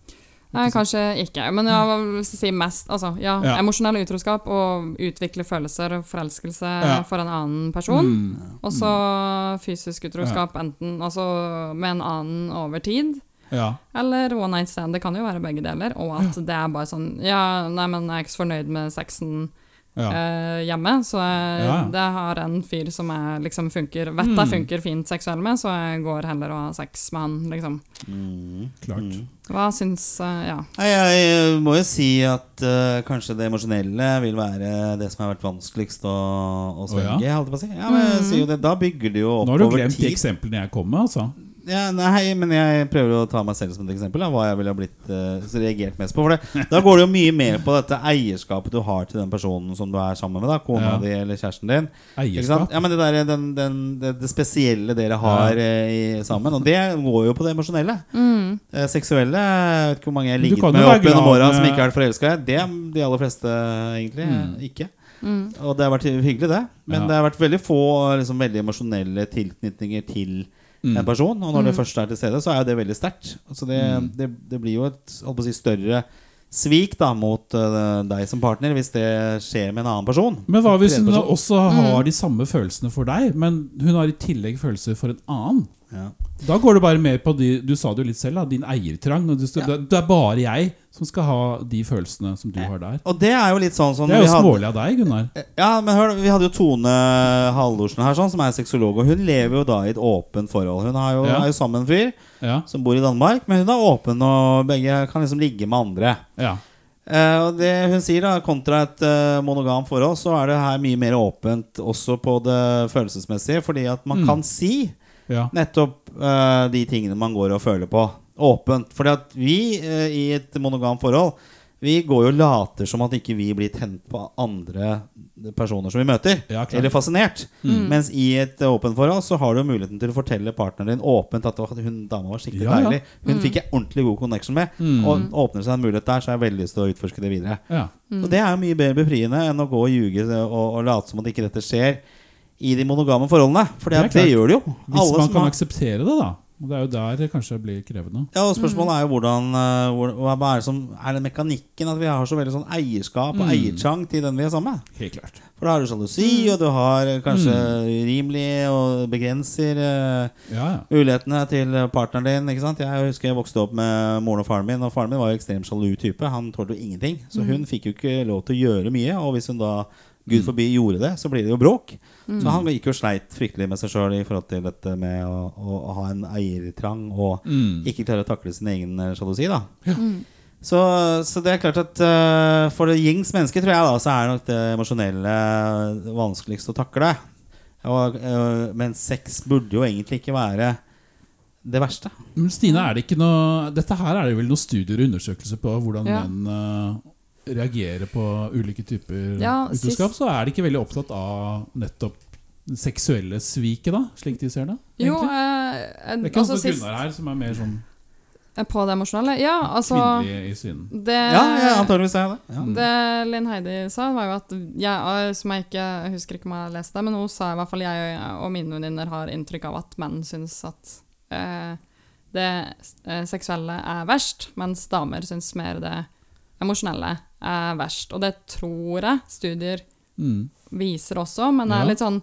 Nei, kanskje ikke. Men jeg vil si mest. Altså, ja, Ja. Emosjonell utroskap og utvikle følelser og forelskelse Ja. for en annen person. Mm. Og så fysisk utroskap enten altså, med en annen over tid, Ja. eller one night stand. Det kan jo være begge deler. Og at det er bare sånn Ja, nei, men jeg er ikke så fornøyd med sexen Ja. eh, hjemme, så jeg, Ja. Mm. det har en fyr som jeg liksom funker Vet jeg funker fint seksuell med, så jeg går heller og har sex med han, liksom. Mm. Klart. Hva syns eh, Ja. Nei, Jeg, jeg må jo si at eh, kanskje det emosjonelle vil være det som har vært vanskeligst å, å Å, ja? svelge. holdt jeg på å si. ja, men jeg sier jo det, da bygger det jo opp Nå har du over glemt de tid. eksemplene jeg kom med. altså. Ja, nei, men jeg prøver å ta meg selv som et eksempel. Da, hva jeg ville ha blitt eh, så reagert mest på. For det, da går det jo mye mer på dette eierskapet du har til den personen som du er sammen med. da Kona Ja. di eller kjæresten din. Ikke sant? Eierskap. Ja, men det, der, den, den, det, det spesielle dere har eh, i, sammen. Og det går jo på det emosjonelle. Eh, seksuelle Jeg vet ikke hvor mange jeg har Men du ligget kan med jo eh, være opp gjennom glad åra med- som ikke har vært forelska i. Det er de aller fleste egentlig ikke. Og det har vært hyggelig, det. Men Mm. Ja. det har vært veldig få liksom, veldig emosjonelle tilknytninger til Mm. en person. Og når det først er til stede, så er jo det veldig sterkt. Så det, Mm. det, det blir jo et holdt på å si, større svik da mot eh, deg som partner hvis det skjer med en annen person. Men hva hvis hun Tredje da person. også Mm. har de samme følelsene for deg, men hun har i tillegg følelser for en annen? Ja. Da går det bare mer på de, du sa det jo litt selv, da, din eiertrang. Og du, det, det er bare jeg som skal ha de følelsene som du har der. Og det er jo litt sånn som Det er vi jo hadde- Eh, smålig av deg, Gunnar. Ja, men hør, da, vi hadde jo Tone Haldorsen her, sånn, som er sexolog. Og hun lever jo da i et åpent forhold. Hun er jo, Ja. er jo sammen med en fyr Ja, som bor i Danmark, men hun er åpen, og begge kan liksom ligge med andre. ja, Eh, og det hun sier, da, kontra et eh, monogamt forhold, så er det her mye mer åpent også på det følelsesmessige, fordi at man Mm. kan si ja. nettopp eh, de tingene man går og føler på. Åpent. Fordi at vi eh, i et monogamt forhold vi går jo og later som at ikke vi blir tent på andre personer som vi møter. Ja, klart. Mm. eller fascinert. Mens i et eh, åpent forhold så har du jo muligheten til å fortelle partneren din åpent at «Åh, hun dama var skikkelig Ja, Mm. ja. deilig. Hun fikk jeg ordentlig god connection med. Og åpner seg en mulighet der, så har jeg veldig lyst til å utforske det videre. ja. Og det er jo mye mer befriende enn å gå og ljuge og, og late som at ikke dette skjer i de monogame forholdene. For det, Det er det klart. gjør det jo. Hvis Alle man som kan har- akseptere det, da. Og det er jo der det kanskje blir krevende. Ja, og Spørsmålet er jo hvordan eh, hvor- hva hva er det som er den mekanikken at vi har så veldig sånn eierskap og eiertrang til den vi er sammen med? Helt klart. For da har du sjalusi, og du har eh, kanskje urimelig og begrenser eh, Ja, ja. mulighetene til partneren din. ikke sant? Jeg husker jeg vokste opp med moren og faren min, og faren min var jo ekstremt sjalu type. Han tålte jo ingenting. Mm. Så hun fikk jo ikke lov til å gjøre mye. Og hvis hun da, gud forby, gjorde det, så blir det jo bråk. Mm. Så han gikk jo og sleit fryktelig med seg sjøl i forhold til dette med å, å, å ha en eiertrang og Mm. ikke klare å takle sin egen eh, sjalusi, da. Så, så det er klart at eh, for det gjengs menneske, tror jeg, da, så er nok det emosjonelle vanskeligst å takle. Og, eh, men sex burde jo egentlig ikke være det verste. Men Stine, er det ikke noe Dette her er det vel noen studier og undersøkelser på hvordan Ja. menn eh, reagerer på ulike typer Ja, utroskap? Så er de ikke veldig opptatt av nettopp det seksuelle sviket, da? Slik de ser det? Jo, egentlig? eh, det er ikke altså altså sist Gunnar her som er mer sånn eh, På det emosjonelle? Ja, altså kvinnelig i synet. det, Ja, ja antageligvis er jeg det. Ja. det Linn Heidi sa, var jo at jeg, eh, som jeg ikke jeg husker ikke om jeg har lest det, men hun sa i hvert fall jeg og mine venninner har inntrykk av at menn syns at eh, det eh, seksuelle er verst, mens damer syns mer det emosjonelle er verst. Og det tror jeg studier Mm. viser også, men det Ja. er litt sånn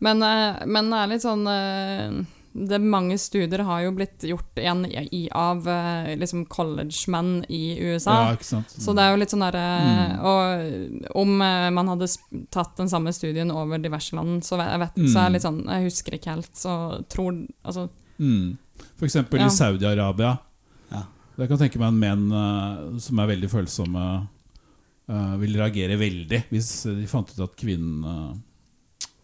Men, eh, men det er litt sånn eh, det Mange studier har jo blitt gjort igjen i, i, av eh, liksom college-menn i USA. Ja, Mm. ikke sant? Så det er jo litt sånn derre Og om eh, man hadde sp- tatt den samme studien over diverse land, så, ve- jeg vet, så er det litt sånn Jeg husker ikke helt, så tror Altså, Mm. For eksempel Ja. i Saudi-Arabia. Ja. Jeg kan tenke meg en menn eh, som er veldig følsomme, eh, vil reagere veldig hvis de fant ut at kvinnen eh,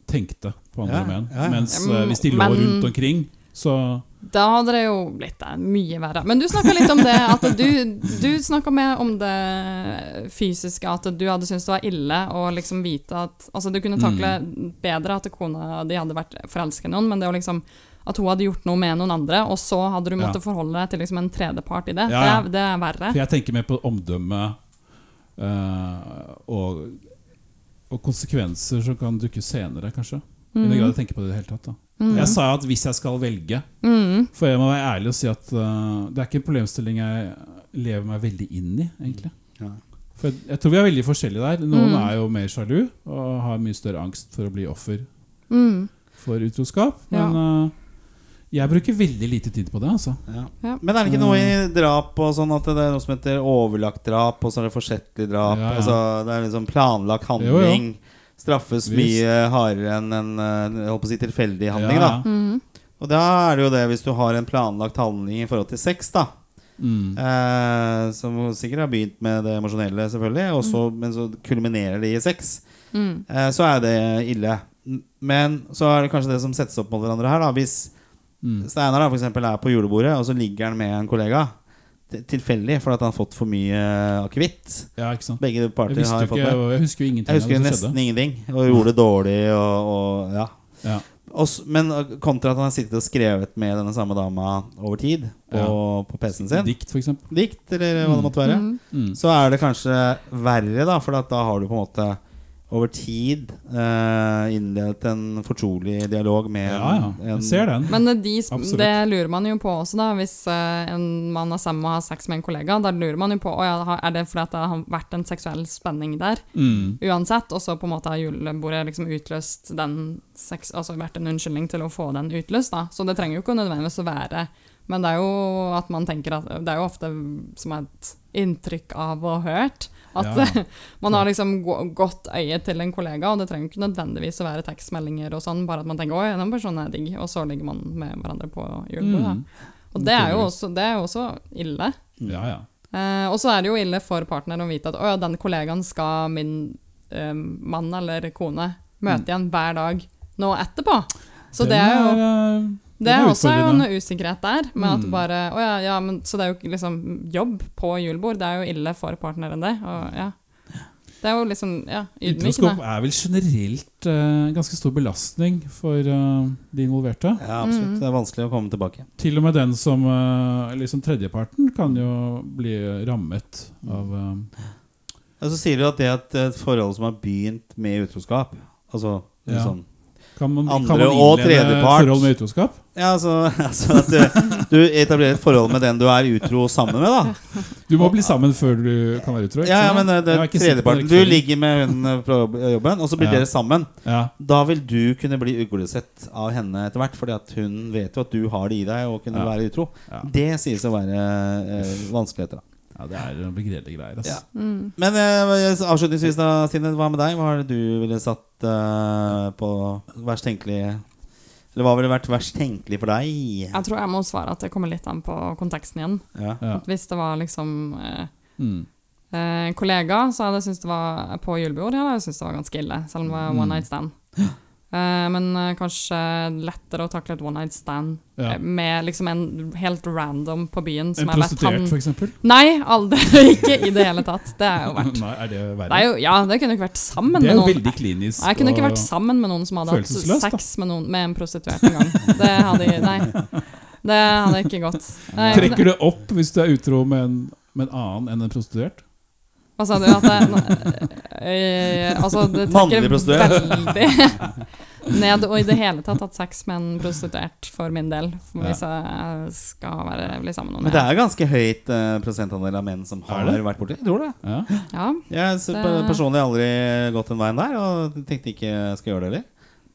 tenkte på andre Ja, menn. ja, ja. Mens Ja, eh, men- hvis de lå men- rundt omkring, så da hadde det jo blitt det mye verre. Men du snakka litt om det at du, du snakka mer om det fysiske, at du hadde syntes det var ille å liksom vite at Altså, du kunne takle Mm. bedre at kona di hadde vært forelska i noen, men det å liksom at hun hadde gjort noe med noen andre, og så hadde du Ja. måttet forholde deg til liksom en tredjepart i det. Ja, ja. Det, er, det er verre. For jeg tenker mer på omdømme eh, og, og konsekvenser som kan dukke senere, kanskje. I Mm. den grad jeg tenker på det i det hele tatt. Da. Jeg sa at hvis jeg skal velge Mm, For jeg må være ærlig og si at eh, det er ikke en problemstilling jeg lever meg veldig inn i, egentlig. Ja. For jeg, jeg tror vi er veldig forskjellige der. Noen Mm. er jo mer sjalu og har mye større angst for å bli offer Mm. for utroskap. Men eh, jeg bruker veldig lite tid på det, altså. Ja. Ja. Men er det ikke noe Mm. i drap og sånn at det er noe som heter overlagt drap, og så er det forsettlig drap? Ja, ja. Altså, det er liksom planlagt handling. Jo, Straffes Visst. mye hardere enn en eh, jeg holdt på å si, tilfeldig handling. Ja, da Mm. Og da er det jo det, hvis du har en planlagt handling i forhold til sex, da. Mm. Eh, som sikkert har begynt med det emosjonelle, selvfølgelig, og så- men så kulminerer det i sex. Mm. Eh, så er det ille. M- Men så er det kanskje det som settes opp mot hverandre her. da Hvis Mm. Steinar da, for eksempel, er på julebordet, og så ligger han med en kollega. til- Tilfeldig, fordi at han har fått for mye akevitt. ja, ikke sant. Begge Jeg, parter visste har jo fått ikke, det. jeg husker jo ingenting Jeg husker av det som nesten ingenting, og gjorde det dårlig. Og, og, ja. skjedde. Ja. Og s- men eh, kontra at han har sittet og skrevet med denne samme dama over tid, på, på PC-en sin. Dikt, for eksempel. Dikt, eller hva det måtte være. Mm. Mm. Så er det kanskje verre, da, for at da har du på en måte over tid eh, innledet en fortrolig dialog med Ja, ja. en Jeg ser den. Men eh, de, sp- Absolutt. det lurer man jo på også, da. Hvis eh, en man er sammen og har sex med en kollega, da lurer man jo på «Å ja, har- er det fordi at det har vært en seksuell spenning der. Mm. Uansett. Og så på en måte har julebordet liksom utløst den sex... Altså vært en unnskyldning til å få den utløst, da. Så det trenger jo ikke nødvendigvis å være Men det er jo at man tenker at Det er jo ofte som et inntrykk av å ha hørt. At Ja. <laughs> man har liksom gå- godt øye til en kollega, og det trenger ikke nødvendigvis å være tekstmeldinger og sånn, bare at man tenker 'oi, den personen er digg', og så ligger man med hverandre på julebordet. Mm. da. Og det er jo også, det er jo også ille. Ja, ja. Eh, og så er det jo ille for partneren å vite at 'å ja, den kollegaen skal min eh, mann eller kone møte igjen hver dag nå etterpå'. Så det Mm. er jo eh, det er Mm. også jo noe usikkerhet der. Med at bare, å ja, ja, men, så det er jo ikke liksom jobb på julebord. Det er jo ille for partneren det. Og, ja. Det er jo liksom ja, Utroskap ydmykende. er vel generelt eh, en ganske stor belastning for eh, de involverte. Ja, absolutt. Det er vanskelig å komme tilbake. Til og med den som eh, liksom tredjeparten kan jo bli rammet av eh, Og så sier du at det er et forhold som har begynt med utroskap. Altså en Ja. sånn Kan man, kan Andre man og innlede et tredjepart. forhold med utroskap? Ja, altså, <laughs> altså at du, du etablerer et forhold med den du er utro sammen med, da. Du må bli sammen før du kan være utro. ikke Ja, ja, sant? men eh, det Jeg er er ikke sikker på tredjeparten. den Du rekkefølgen. ligger med hun eh, på jobb- jobben, og så blir Ja. dere sammen. ja. Da vil du kunne bli uglesett av henne etter hvert, fordi at hun vet jo at du har det i deg å kunne Ja. være utro. Ja. Det sies å være eh, vanskeligheter, da. ja, det er noen begredelige greier. ass. Ja. Men eh, avslutningsvis, da, Stine, hva med deg? Hva er det du ville satt eh, på verst tenkelig Eller hva ville vært verst tenkelig for deg? Jeg tror jeg må svare at det kommer litt an på konteksten igjen. Ja. Ja. At hvis det var liksom eh, Mm. eh, en kollega, så hadde jeg syntes det var på julebord, ja, jeg syntes det var ganske ille, selv om det var Mm. one night stand. Eh, men eh, kanskje lettere å takle et one night stand Ja. eh, med liksom en helt random på byen som jeg vet En prostituert, han for eksempel? Nei, aldri. <laughs> Ikke i det hele tatt. Det er jo verdt. <laughs> Nei, er det Det er verre? jo, ja, det kunne ikke vært sammen med Det er jo noen. veldig klinisk. Nei, Jeg kunne ikke og- vært sammen med noen som hadde hatt Følelsesløst, da. sex med, noen, med en prostituert en gang. Det hadde, jeg- nei, det hadde ikke gått. <laughs> Eh, Nei, men- Trekker det opp hvis du er utro med en, med en annen enn en prostituert? Hva sa du? At det, eh, altså, det trekker Mannlig prostituert. veldig <laughs> ned. Og i det hele tatt hatt sex med en prostituert, for min del. Ja. Hvis jeg skal være bli sammen med Men det er ganske høyt eh, prosentandel av menn som har Er det? vært borti Jeg tror det. Ja. Ja, Jeg har Det- personlig aldri gått den veien der, og tenkte ikke jeg skal gjøre det heller.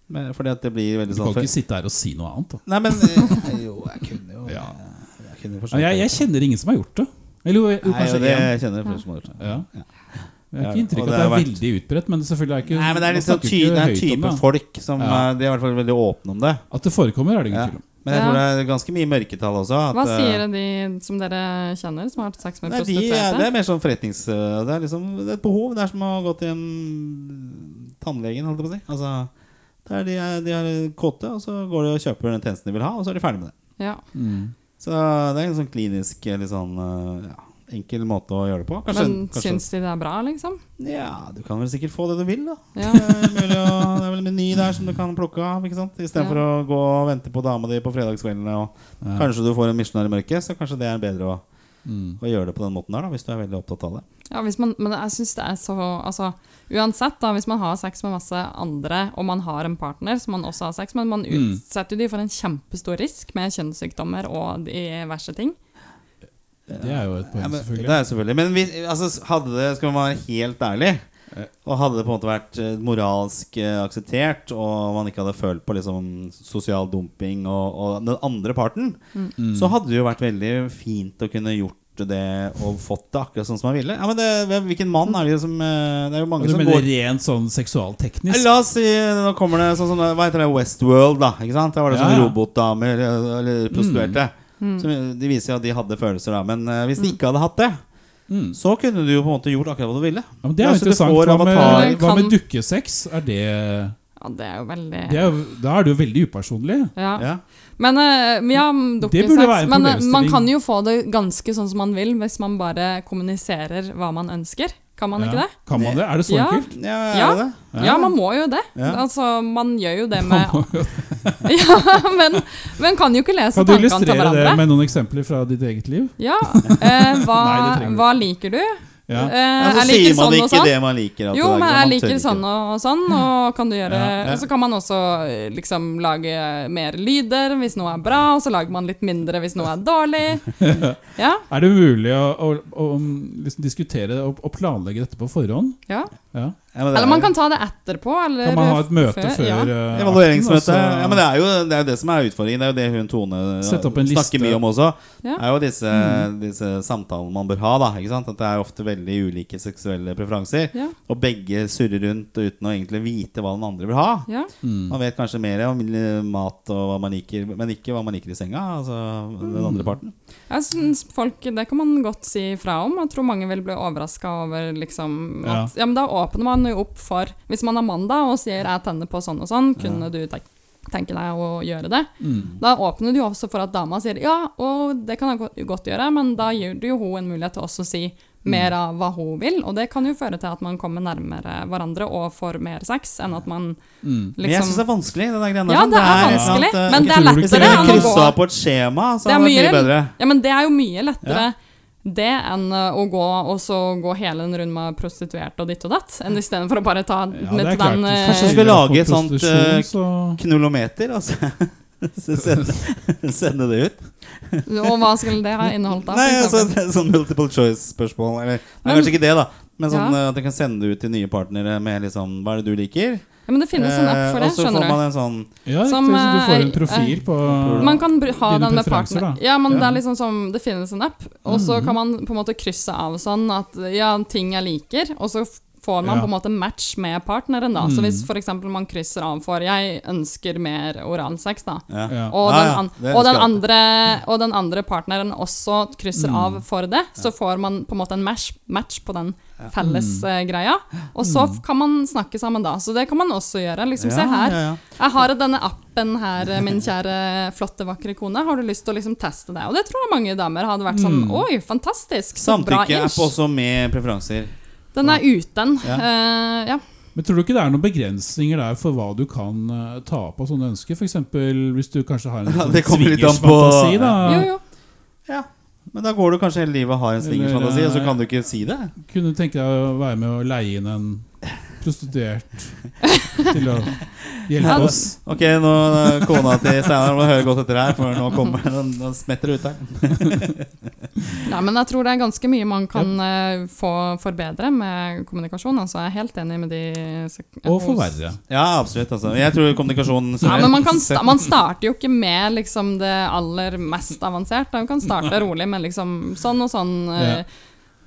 Men- Fordi at det blir Du veldig kan sånn ikke for... sitte her og si noe annet. Da. Nei, <laughs> men eh, Jo, jeg kunne jo Ja. Jeg kunne Ja, forstått Jeg, jeg kjenner ingen som har gjort det. Eller jo, jo Nei, jo, kanskje det én. kjenner jeg flere som har gjort. Ja. Jeg Ja, har ikke inntrykk og det av at det har er vært- veldig utbredt, men selvfølgelig er det ikke Nei, men det er man liksom snakker ty, det er ikke en høyt om type det. folk som Ja. eh, De er i hvert fall veldig åpne om det. At det forekommer, er det ingen Ja. tvil om. Men jeg Ja. tror det er ganske mye mørketall også. At, Hva eh, sier de som dere kjenner, som har hatt sex med Nei, de, er- det prostituerte? er mer sånn forretnings... øh, Det er liksom det er et behov. Det er som å gå til en tannlegen, holdt jeg på å si. Altså, det er de, er, de er kåte, og så går de og kjøper den tjenesten de vil ha, og så er de ferdig med det. Ja. Mm, Så det er en sånn klinisk, litt sånn øh, ja, enkel måte å gjøre det på. Kanskje, Men kanskje, syns de det er bra, liksom? Ja, du kan vel sikkert få det du vil, da. Ja. Det <laughs> er, mulig å, det er vel en meny der som du kan plukke av, ikke sant? istedenfor Ja. å gå og vente på dama di på fredagskveldene. Og Ja. Kanskje du får en misjonær i mørket, så kanskje det er bedre å, Mm. å gjøre det på den måten der, da, hvis du er veldig opptatt av det. Ja, hvis man, men jeg synes det er så altså, Uansett, da, hvis man har sex med masse andre, og man har en partner som man også har sex med, man Mm. utsetter jo de for en kjempestor risk med kjønnssykdommer og diverse ting. Det er jo et Ja, men, poeng, det selvfølgelig. er selvfølgelig. Men hvis, altså, hadde det, skal man være helt ærlig, Ja. og hadde det på en måte vært eh, moralsk eh, akseptert, og man ikke hadde følt på liksom, sosial dumping og, og den andre parten, Mm. så hadde det jo vært veldig fint å kunne gjort det og fått det akkurat sånn som man ville. Ja, men det, hvem- Hvilken mann er det som eh, Det er jo mange Du som mener går Altså, Eh, rent sånn seksualteknisk? La oss si Nå kommer det sånn som Hva heter det? Westworld, da. Ikke sant? Der var det Ja, sånne ja. robotdamer eh, eller prostituerte. Som, eh, de viser jo at de hadde følelser, da. Men eh, hvis de ikke hadde hatt det, Mm. så kunne du jo på en måte gjort akkurat hva du ville. Ja, men det er jo Altså, du interessant. får Hva avatar- med, hva Kan- med dukkesex? Er det, Ja, det er jo veldig det er, jo- Da er det jo veldig upersonlig. ja. Ja. Men eh, ja, mm, Det burde være dukkesex en Men eh, man problemstilling. kan jo få det ganske sånn som man vil, hvis man bare kommuniserer hva man ønsker. Kan man Ja. ikke det? Kan man det? Er det så Ja. enkelt? Ja, er Ja. det det? Ja. Ja, man må jo det. Ja. Altså, man gjør jo det Man med må jo- <laughs> Ja, men, men kan jo ikke lese Kan du tankene til illustrere det hverandre. med noen eksempler fra ditt eget liv? Ja. Eh, hva, Nei, det trenger du hva liker du? Ja. Ja, Eh, så sier jeg man liker sånn og ikke sånn. det man liker. at Jo, det er, men man tør jeg liker ikke. sånn og, og sånn, og kan du gjøre Ja, ja. Og så kan man også eh, liksom lage mer lyder hvis noe er bra, og så lager man litt mindre hvis noe er <laughs> dårlig. Ja, Er det mulig å, å, å um, liksom diskutere og, og planlegge dette på forhånd? ja. Ja. Ja, men det Eller er man jo- kan ta det etterpå, eller Kan man ha et møte før, ja. eh, Evalueringsmøte. akten, og så- Ja, men det er, jo, det er jo det som er utfordringen. Det er jo det hun Tone eh, Sette opp en liste. snakker mye om også. Ja. Mm. er jo disse, disse samtalene man bør ha. Da, ikke sant? At det er ofte veldig ulike seksuelle preferanser. Ja. Og begge surrer rundt uten å egentlig vite hva den andre vil ha. ja. Mm. Man vet kanskje mer om eh, mat og hva man liker, men ikke hva man liker i senga. Altså den Mm. andre parten. Jeg synes folk, Det kan man godt si fra om. Jeg tror mange vil bli overraska over liksom Ja. at ja. men Da åpner man jo opp for Hvis man er mann da og sier 'jeg tenner på sånn og sånn', kunne du tenk- tenke deg å gjøre det? Mm, Da åpner du jo også for at dama sier 'ja, og det kan jeg godt- godt gjøre', men da gir du jo hun en mulighet til også å si mer av hva hun vil, og det kan jo føre til at man kommer nærmere hverandre og får mer sex enn at man mm. Men jeg syns det liksom er vanskelig. Det der greiene der, Ja, sånn. det er et eller vanskelig, annet, eh, men det er tror du ikke Hvis jeg lettere det kunne enn å krysset gå kryssa på et skjema, så det er hadde det vært mye bedre. Ja, men det er jo mye lettere det enn eh, å gå, og så gå hele en runde med prostituerte og ditt og datt, enn istedenfor å bare ta Ja, med det er til klart. den eh, Kanskje vi skal lage et sånt, eh, sånt Knullometer, altså. <laughs> Så sende, <laughs> sende det ut. Og hva skulle det ha inneholdt da? Nei, for altså, eksempel? det er sånn multiple choice-spørsmål. Eller nei, Men- kanskje ikke det, da. Men sånn Ja. eh, at jeg kan sende det ut til nye partnere med liksom Hva er det du liker? ja, men det finnes en app Eh, for det, og så får skjønner du. man en sånn Ja, riktig, Som, så du får en eh, profil på Man kan br- ha Dine den med preferanser, partner. da. Mhm. Ja, men Ja. det er liksom som Det finnes en app, og så kan man på en måte krysse av sånn at ja, ting jeg liker, og så f- får man på Ja. en måte match med partneren, da. Så Mm. hvis f.eks. man krysser av for 'jeg ønsker mer oralsex', da. ja. ja. Og Ja, den, Ah, ja, an det og, skal den jeg andre, og den andre partneren også krysser Mhm. av for det, så får man på en måte en match, match på den felles Mhm. eh, greia. Og så f- kan man snakke sammen da. Så det kan man også gjøre. Liksom, se Ja, her. ja, ja. Jeg har denne appen her, eh, min kjære flotte, vakre kone. Har du lyst til å liksom teste det? Og det tror jeg mange damer hadde vært Mm. sånn Oi, fantastisk! Så bra Samtykke-app inch! også med preferanser. Den er uten. Ja. Eh, ja. Men tror du ikke det er noen begrensninger der for hva du kan eh, ta opp av sånne ønsker? F.eks. hvis du kanskje har en Ja, sånn det kommer litt an på- swingersfantasi, da. Jo, jo. Ja. Men da går du kanskje hele livet og har en swingersfantasi, og så kan du ikke si det. Kunne du tenke deg å være med å leie inn en prostituert til <laughs> å hjelpe Ja, oss? Ok, nå eh, kona til Steinar må høre godt etter her, for nå kommer den, den smetter det ut her. Nei, men jeg tror det er ganske mye man kan eh, få forbedre med kommunikasjon. Altså, jeg er helt enig med de sek- Og hos- forverre. Ja, absolutt. Altså. Jeg tror kommunikasjonen Ja, men man, kan sta man starter jo ikke med liksom, det aller mest avanserte. Man kan starte rolig med liksom, sånn og sånn. eh,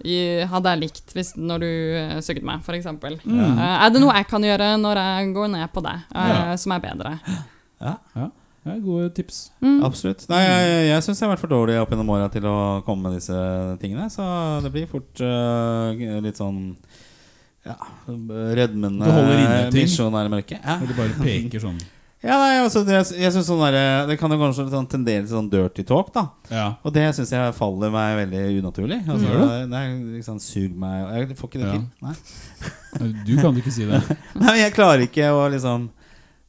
i, hadde jeg likt hvis, når du eh, sugde meg, f.eks. eksempel Mm. Eh, er det noe jeg kan gjøre når jeg går ned på deg, eh, Ja. som er bedre? Ja, ja, gode tips. Absolutt. Nei, jeg, jeg, jeg syns jeg har vært for dårlig opp gjennom åra til å komme med disse tingene. Så det blir fort eh, litt sånn ja, redmende Du holder inne ting. misjonærmørke. Ja. Når du bare peker sånn. Ja, nei, altså, det, jeg synes sånn der, det kan jo kanskje sånn tendere til sånn dirty talk, da. Ja. Og det syns jeg faller meg veldig unaturlig. Altså, Mm. Gjør Nei, liksom, sug meg Jeg får ikke det Ja. til. Nei. Du kan jo ikke si <laughs> det. Nei, men jeg klarer ikke å liksom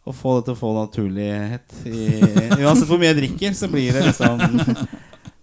Å få det til å få naturlighet. I, uansett hvor mye jeg drikker, så blir det liksom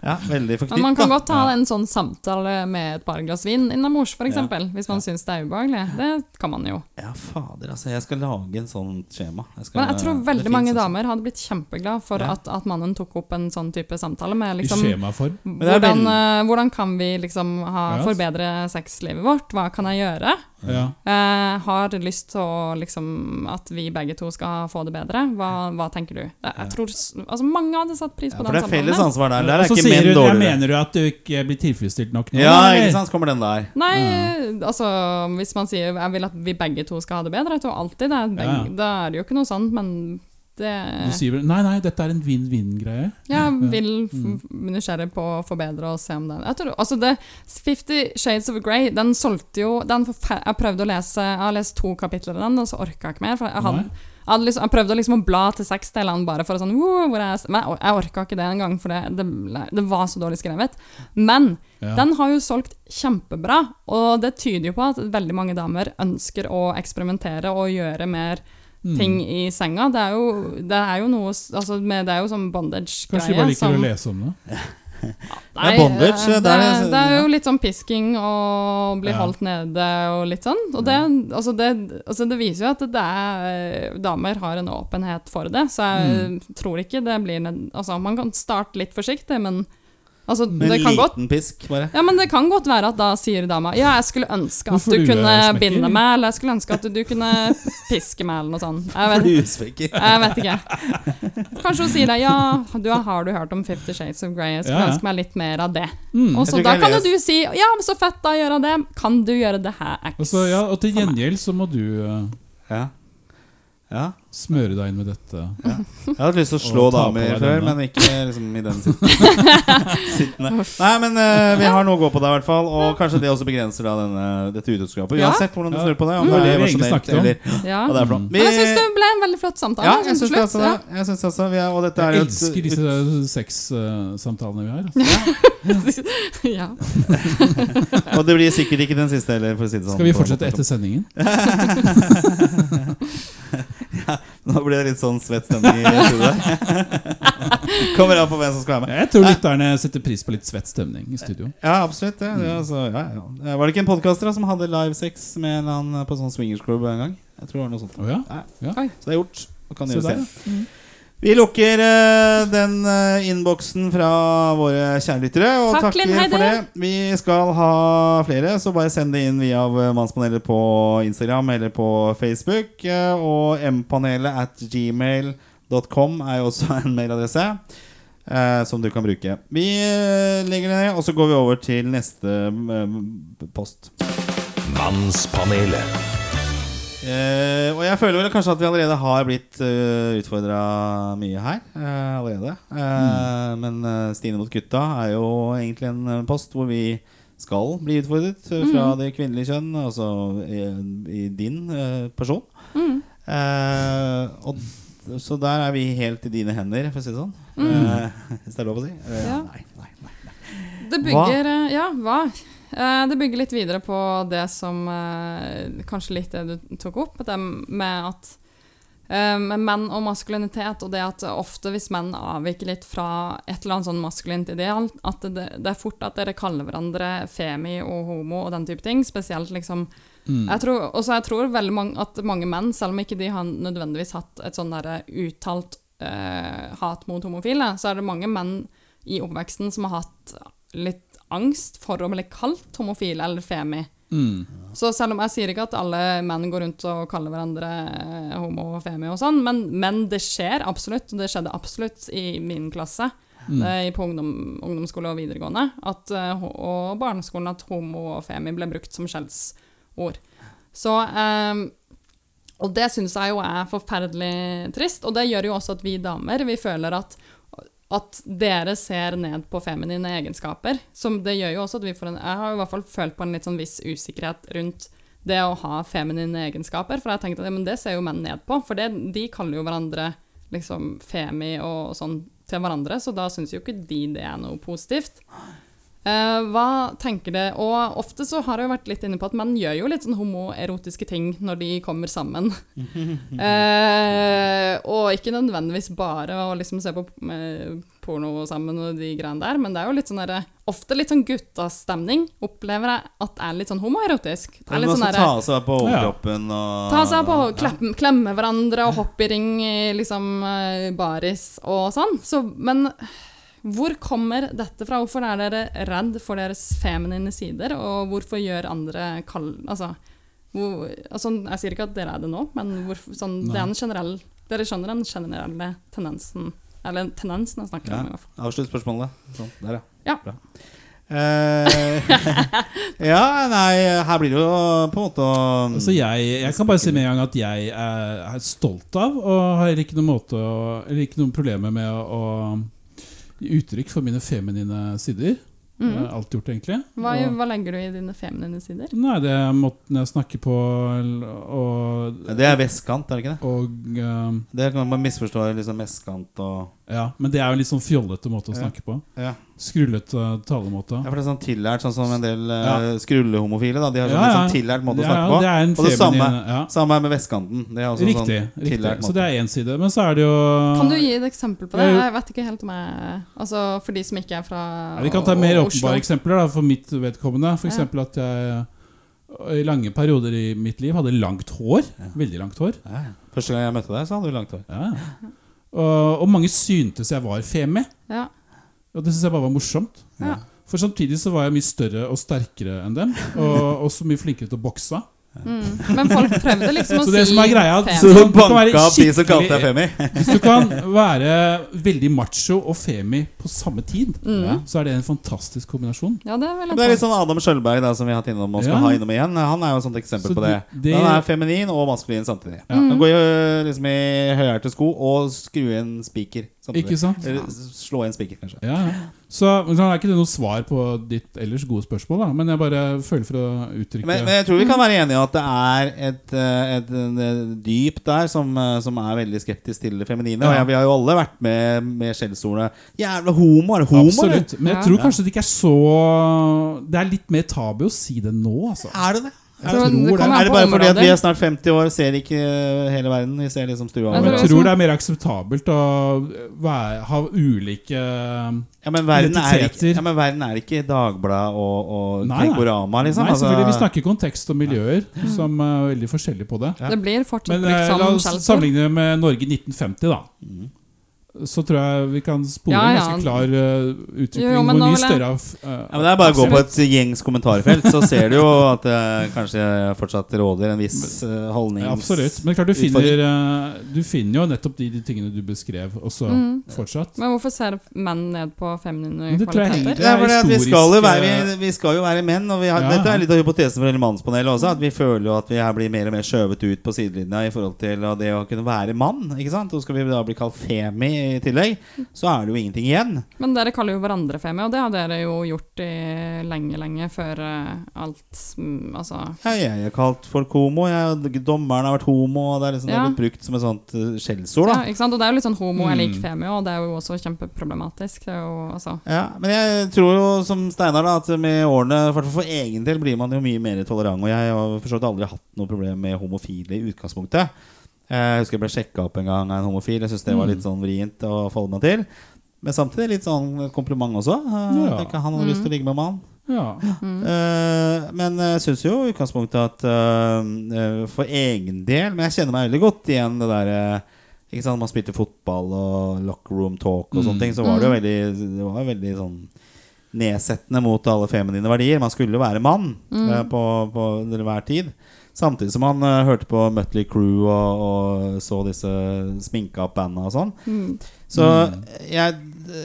Ja, veldig Men man forknytt. kan da. godt ha en sånn samtale med et par glass vin innabords, f.eks. Hvis man syns det er ubehagelig. Det kan man jo. Ja, fader, altså. Jeg skal lage en sånn skjema. Jeg skal, Men jeg tror det veldig finnes mange en sånn- damer hadde blitt kjempeglad for Ja. at, at mannen tok opp en sånn type samtale med I liksom skjemaform. det er hvordan, veldig- eh, hvordan kan vi liksom ha, Ja. forbedre sexlivet vårt? Hva kan jeg gjøre? Ja. Eh, har lyst til å liksom At vi begge to skal få det bedre? Hva, hva tenker du? Eh, Jeg, jeg tror s- altså, mange hadde satt pris Ja, på for det den er samtalen. felles der. ansvar der. Der Og er så ikke sier menn du jeg dårligere. mener du at du ikke blir tilfredsstilt nok nå? Ja, eller? ikke sant? Så kommer den der. Nei, Mm. altså hvis man sier 'jeg vil at vi begge to skal ha det bedre', jeg tror alltid det er begge, Ja. Da er det jo ikke noe sånt, men det Du sier vel Nei, nei, dette er en vinn-vinn-greie. Jeg vil Mm. f- nysgjerrig på å forbedre og se om den jeg tror, altså det, Fifty Shades of Grey, den solgte jo den forfe- Jeg prøvde å lese Jeg har lest to kapitler i den, og så orka jeg ikke mer. For jeg, hadde, Nei. jeg, hadde liksom, jeg prøvde liksom å bla til sexdelene bare for å sånn «Woo, hvor er jeg s-?» Men jeg, jeg orka ikke det engang, for det, det, ble- det var så dårlig skrevet. Men Ja. den har jo solgt kjempebra, og det tyder jo på at veldig mange damer ønsker å eksperimentere og gjøre mer Mm. ting i senga. Det er jo, det er jo noe s- altså, med, Det er jo sånn bondage-greie. Kanskje de bare liker som- å lese om det? Det er bondage, eh, det Det, er- det er jo litt sånn pisking og bli Ja. holdt nede og litt sånn. Og det, altså det, altså det viser jo at det er, eh, damer har en åpenhet for det, så jeg Mm. tror ikke det blir ned, altså Man kan starte litt forsiktig, men altså, Med det en kan godt liten pisk, bare. ja, men Det kan godt være at da sier dama Ja, jeg skulle ønske at Hvorfor du du er kunne smekker? binde meg, eller jeg skulle ønske at du kunne piske meg, eller noe sånt. Jeg vet, Fluesvekker. jeg vet ikke. Kanskje hun sier det. Ja, du, har du hørt om Fifty Shades of Grey? Jeg skulle Ja, ja. ønske meg litt mer av det. Mm. Og så Jeg tror da ikke jeg kan jo leser. du si Ja, men så fett, da gjør jeg det. Kan du gjøre det her, X? Og, så, ja, og til For meg. gjengjeld så må du eh, Ja. ja. smøre deg inn med dette. Jeg hadde lyst til å slå Og ta på damer deg før, denne. men ikke liksom i <laughs> den sitten- sittende. Nei, men eh, vi har noe å gå på da, i hvert fall. Og kanskje det også begrenser da denne, dette utroskapet. Ja. Uansett hvordan du Ja. snur på det. Om Mm. det Det er har vi egentlig emosjonelt snakket om. Mm. eller Ja. hva det er for noe. Men jeg syns det ble en veldig flott samtale. ja, til jeg syns det slutt, også. ja. Det. Jeg syns også vi er, og dette er jo Jeg et- elsker disse sexsamtalene vi har. altså. <laughs> ja. Og det blir sikkert ikke den sånn. <laughs> siste heller, for å si det sånn. Skal vi på en fortsette måte. etter sendingen? Nå blir det litt sånn svett stemning i <laughs> studioet. Kommer an på hvem som skal være med. Jeg tror lytterne setter pris på litt svett stemning i studio. Ja, absolutt. Det, det, altså, ja, ja. Var det ikke en podkaster som hadde livesex med en eller annen på sånn swingersklubb en gang? Jeg tror det var noe sånt. Å ja. Nei. Ja. Oi. Så det er gjort. Og kan Se gjøres der, Mm. igjen. Vi lukker eh, den eh, innboksen fra våre kjærelyttere. Og Takk, takker Linn Heide. for det. Vi skal ha flere, så bare send det inn via eh, Mannspanelet på Instagram eller på Facebook. eh, Og mpanelet at gmail.com er jo også en mailadresse eh, som du kan bruke. Vi eh, legger det ned, og så går vi over til neste eh, post. Mannspanelet. Eh, og jeg føler vel kanskje at vi allerede har blitt uh, utfordra mye her. eh, allerede. Eh, Mm. Men eh, Stine mot gutta er jo egentlig en eh, post hvor vi skal bli utfordret eh, fra Mm. det kvinnelige kjønn, altså i, i din eh, person. Mm. Eh, og, d- så der er vi helt i dine hender, for å si det sånn. Eh, hvis det er lov å si. Eh, Mm. Ja. Nei, nei, nei. Det bygger eh, Ja, hva? Eh, Det bygger litt videre på det som eh, Kanskje litt det du tok opp, det med at eh, med menn og maskulinitet, og det at ofte hvis menn avviker litt fra et eller annet sånn maskulint ideal, at det, det er fort at dere kaller hverandre femi og homo og den type ting, spesielt liksom Mm. jeg tror, også jeg tror veldig mange, at mange menn, selv om ikke de har nødvendigvis hatt et sånn derre uttalt eh, hat mot homofile, så er det mange menn i oppveksten som har hatt litt angst for å bli kalt homofil eller femi. Mm. Så selv om jeg sier ikke at alle menn går rundt og kaller hverandre eh, homo og femi og sånn, men, men det skjer absolutt, og det skjedde absolutt i min klasse. eh, i På ungdom, ungdomsskole og videregående. At, eh, ho- og barneskolen at homo og femi ble brukt som skjellsord. Så eh, og det syns jeg jo er forferdelig trist, og det gjør jo også at vi damer vi føler at, at dere ser ned på feminine egenskaper. Som det gjør jo også at vi får en Jeg har jo i hvert fall følt på en litt sånn viss usikkerhet rundt det å ha feminine egenskaper, for jeg har tenkt at ja, men det ser jo menn ned på, for det, de kaller jo hverandre liksom femi og sånn til hverandre, så da syns jo ikke de det er noe positivt. Eh, hva tenker det? Og ofte så har jeg jo vært litt inne på at menn gjør jo litt sånn homoerotiske ting når de kommer sammen. Eh, og ikke nødvendigvis bare å liksom se på eh, porno sammen og de greiene der, men det er jo litt sånn derre Ofte litt sånn guttastemning opplever jeg at er litt sånn homoerotisk. Det er Men altså litt man skal sånn derre- ta seg på Ja. overkroppen og Ah. Ta seg på, klemme, klemme hverandre og hoppe i ring i liksom eh, baris og sånn. Så, men hvor kommer dette fra? Hvorfor er dere redd for deres feminine sider? Og hvorfor gjør andre kall... Altså, hvor, altså jeg sier ikke at dere er det nå, men hvorfor, sånn, det er en generell Dere skjønner den generelle tendensen? Eller tendensen jeg snakker Ja. om. i hvert fall. Avslutt spørsmålet. Sånn, der, Ja. Bra. Eh, <laughs> ja, nei, her blir det jo på en måte å Altså jeg, jeg kan bare si med en gang at jeg er, er stolt av og har ikke noen, måte å, eller ikke noen problemer med å, å gi uttrykk for mine feminine sider. Mm. Jeg har alltid gjort det, egentlig. Hva, og, hva legger du i dine feminine sider? nei, det er måten jeg snakker på og, Det er vestkant, er det ikke det? og eh, Det kan man misforstå liksom vestkant og Ja, men det er jo en litt sånn fjollete måte å Ja. snakke på. ja. Skrullete talemåte. ja, for det er sånn tillært, sånn som en del eh, Ja. skrullehomofile. Da. De har sånn, Ja, ja. sånn tillært måte å Ja, snakke ja, på. det er en og det feminin- samme, ja. samme er med vestkanten. Det er også Riktig. sånn riktig. tillært Så måte. det er én side. Men så er det jo Kan du gi et eksempel på det? Ja, jo. Jeg vet ikke helt om jeg Altså For de som ikke er fra Ja, vi kan ta mer Oslo. åpenbare eksempler da, for mitt vedkommende. For Ja. eksempel at jeg eh, i lange perioder i mitt liv hadde langt hår. Veldig langt hår. Ja, ja. Første gang jeg møtte deg, så hadde du langt hår. Ja. Og, og mange syntes jeg var femi. Ja. Og det syns jeg bare var morsomt. Ja. For samtidig så var jeg mye større og sterkere enn dem. <laughs> Og også mye flinkere til å bokse. Mm. Men folk prøvde liksom å <laughs> Så det si som er greia, femi. Så Så du kan være banka opp de som kalte deg skikkelig- Femi. Hvis du kan være veldig macho og femi på samme tid, Mm. så er det en fantastisk kombinasjon. Ja, det er vel Det er en litt sånn Adam Skjølberg da, som vi har hatt innom og skal Ja. ha innom igjen. Han er jo et sånt eksempel Så på det. det- det- Han er feminin og maskulin samtidig. Ja. Han går jo liksom i høyhælte sko og skru i en spiker samtidig. Ikke sant? Eller s- slå i en spiker, kanskje. Ja, ja. Så men så er ikke det noe svar på ditt ellers gode spørsmål, da. men jeg bare føler for å uttrykke Men, men jeg tror vi kan være enige i at det er et, eh, et, eh, dyp der som, eh, som er veldig skeptisk til det feminine. Og Ja. jeg, vi har jo alle vært med med skjellsordene 'jævla homo', er det homo, eller? Absolutt. Men Ja. jeg tror kanskje det ikke er så Det er litt mer tabu å si det nå, altså. Er det det? Jeg tror det tror det. kommer an Er det på bare fordi at vi områder. er snart 50 år, ser ikke eh, hele verden? Vi ser liksom stua Jeg Men over. jeg tror det er mer akseptabelt å være, ha ulike Ja, men verden er ikke, identiteter. ja, men verden er ikke Dagbladet og, og Nei, nei. Krenkorama, liksom. Nei, selvfølgelig, vi altså. snakker kontekst og miljøer som er veldig forskjellige på det. Ja. Mm. Det blir sånn fortsatt Men eh, brukt la som oss skjellsord. sammenligne med Norge 1950, da. Mm. Så tror jeg vi kan spore Ja, en ja. ganske klar eh, utvikling. Jo, jo, men hvor nå mye vil jeg- større av eh, Ja, men det er bare å gå på et gjengs kommentarfelt, så ser du jo at det kanskje fortsatt råder en viss eh, holdnings... ja, Absolutt. Men klart du finner, eh, du finner jo nettopp de, de tingene du beskrev, også Mm. fortsatt. Men hvorfor ser menn ned på feminine Men det tror jeg kvaliteter? henger- Det er fordi at vi historisk, skal jo være, eh, vi skal jo være menn, og vi har, Ja, dette ja. er litt av hypotesen for hele mannspanelet også, at vi føler jo at vi her blir mer og mer skjøvet ut på sidelinja i forhold til det å kunne være mann, ikke sant? Og skal vi da bli kalt femi i tillegg, så er det jo ingenting igjen. Men dere kaller jo hverandre femi, og det har dere jo gjort i lenge, lenge før eh, alt mm, Altså Ja, jeg er kalt folk homo, jeg, og dommeren har vært homo, og det er liksom det Ja. har blitt brukt som et sånt eh, skjellsord da. ja, ikke sant? Og det er jo litt sånn homo er lik Mm. femi, og det er jo også kjempeproblematisk. Det er jo, altså, Ja, men jeg tror jo som Steinar da at med årene, i hvert fall for egen del, blir man jo mye mer tolerant. Og jeg har for så vidt aldri hatt noe problem med homofile i utgangspunktet. Eh, Jeg husker jeg ble sjekka opp en gang av en homofil. Jeg syns det Mm. var litt sånn vrient å forholde meg til. Men samtidig litt sånn kompliment også. Eh, Ja. tenker Han hadde lyst Mm. til å ligge med en mann. Ja. Eh, men jeg syns jo i utgangspunktet at eh, eh, for egen del Men jeg kjenner meg veldig godt igjen det derre ikke sant, Man spilte fotball og locker room talk og sånne Mm. ting. Så var det jo veldig, det var jo veldig sånn nedsettende mot alle feminine verdier. Man skulle jo være mann Mm. eh, på, på hver tid. Samtidig som man eh, hørte på Mutley Crew og, og så disse sminka opp banda og sånn. mm. Så jeg,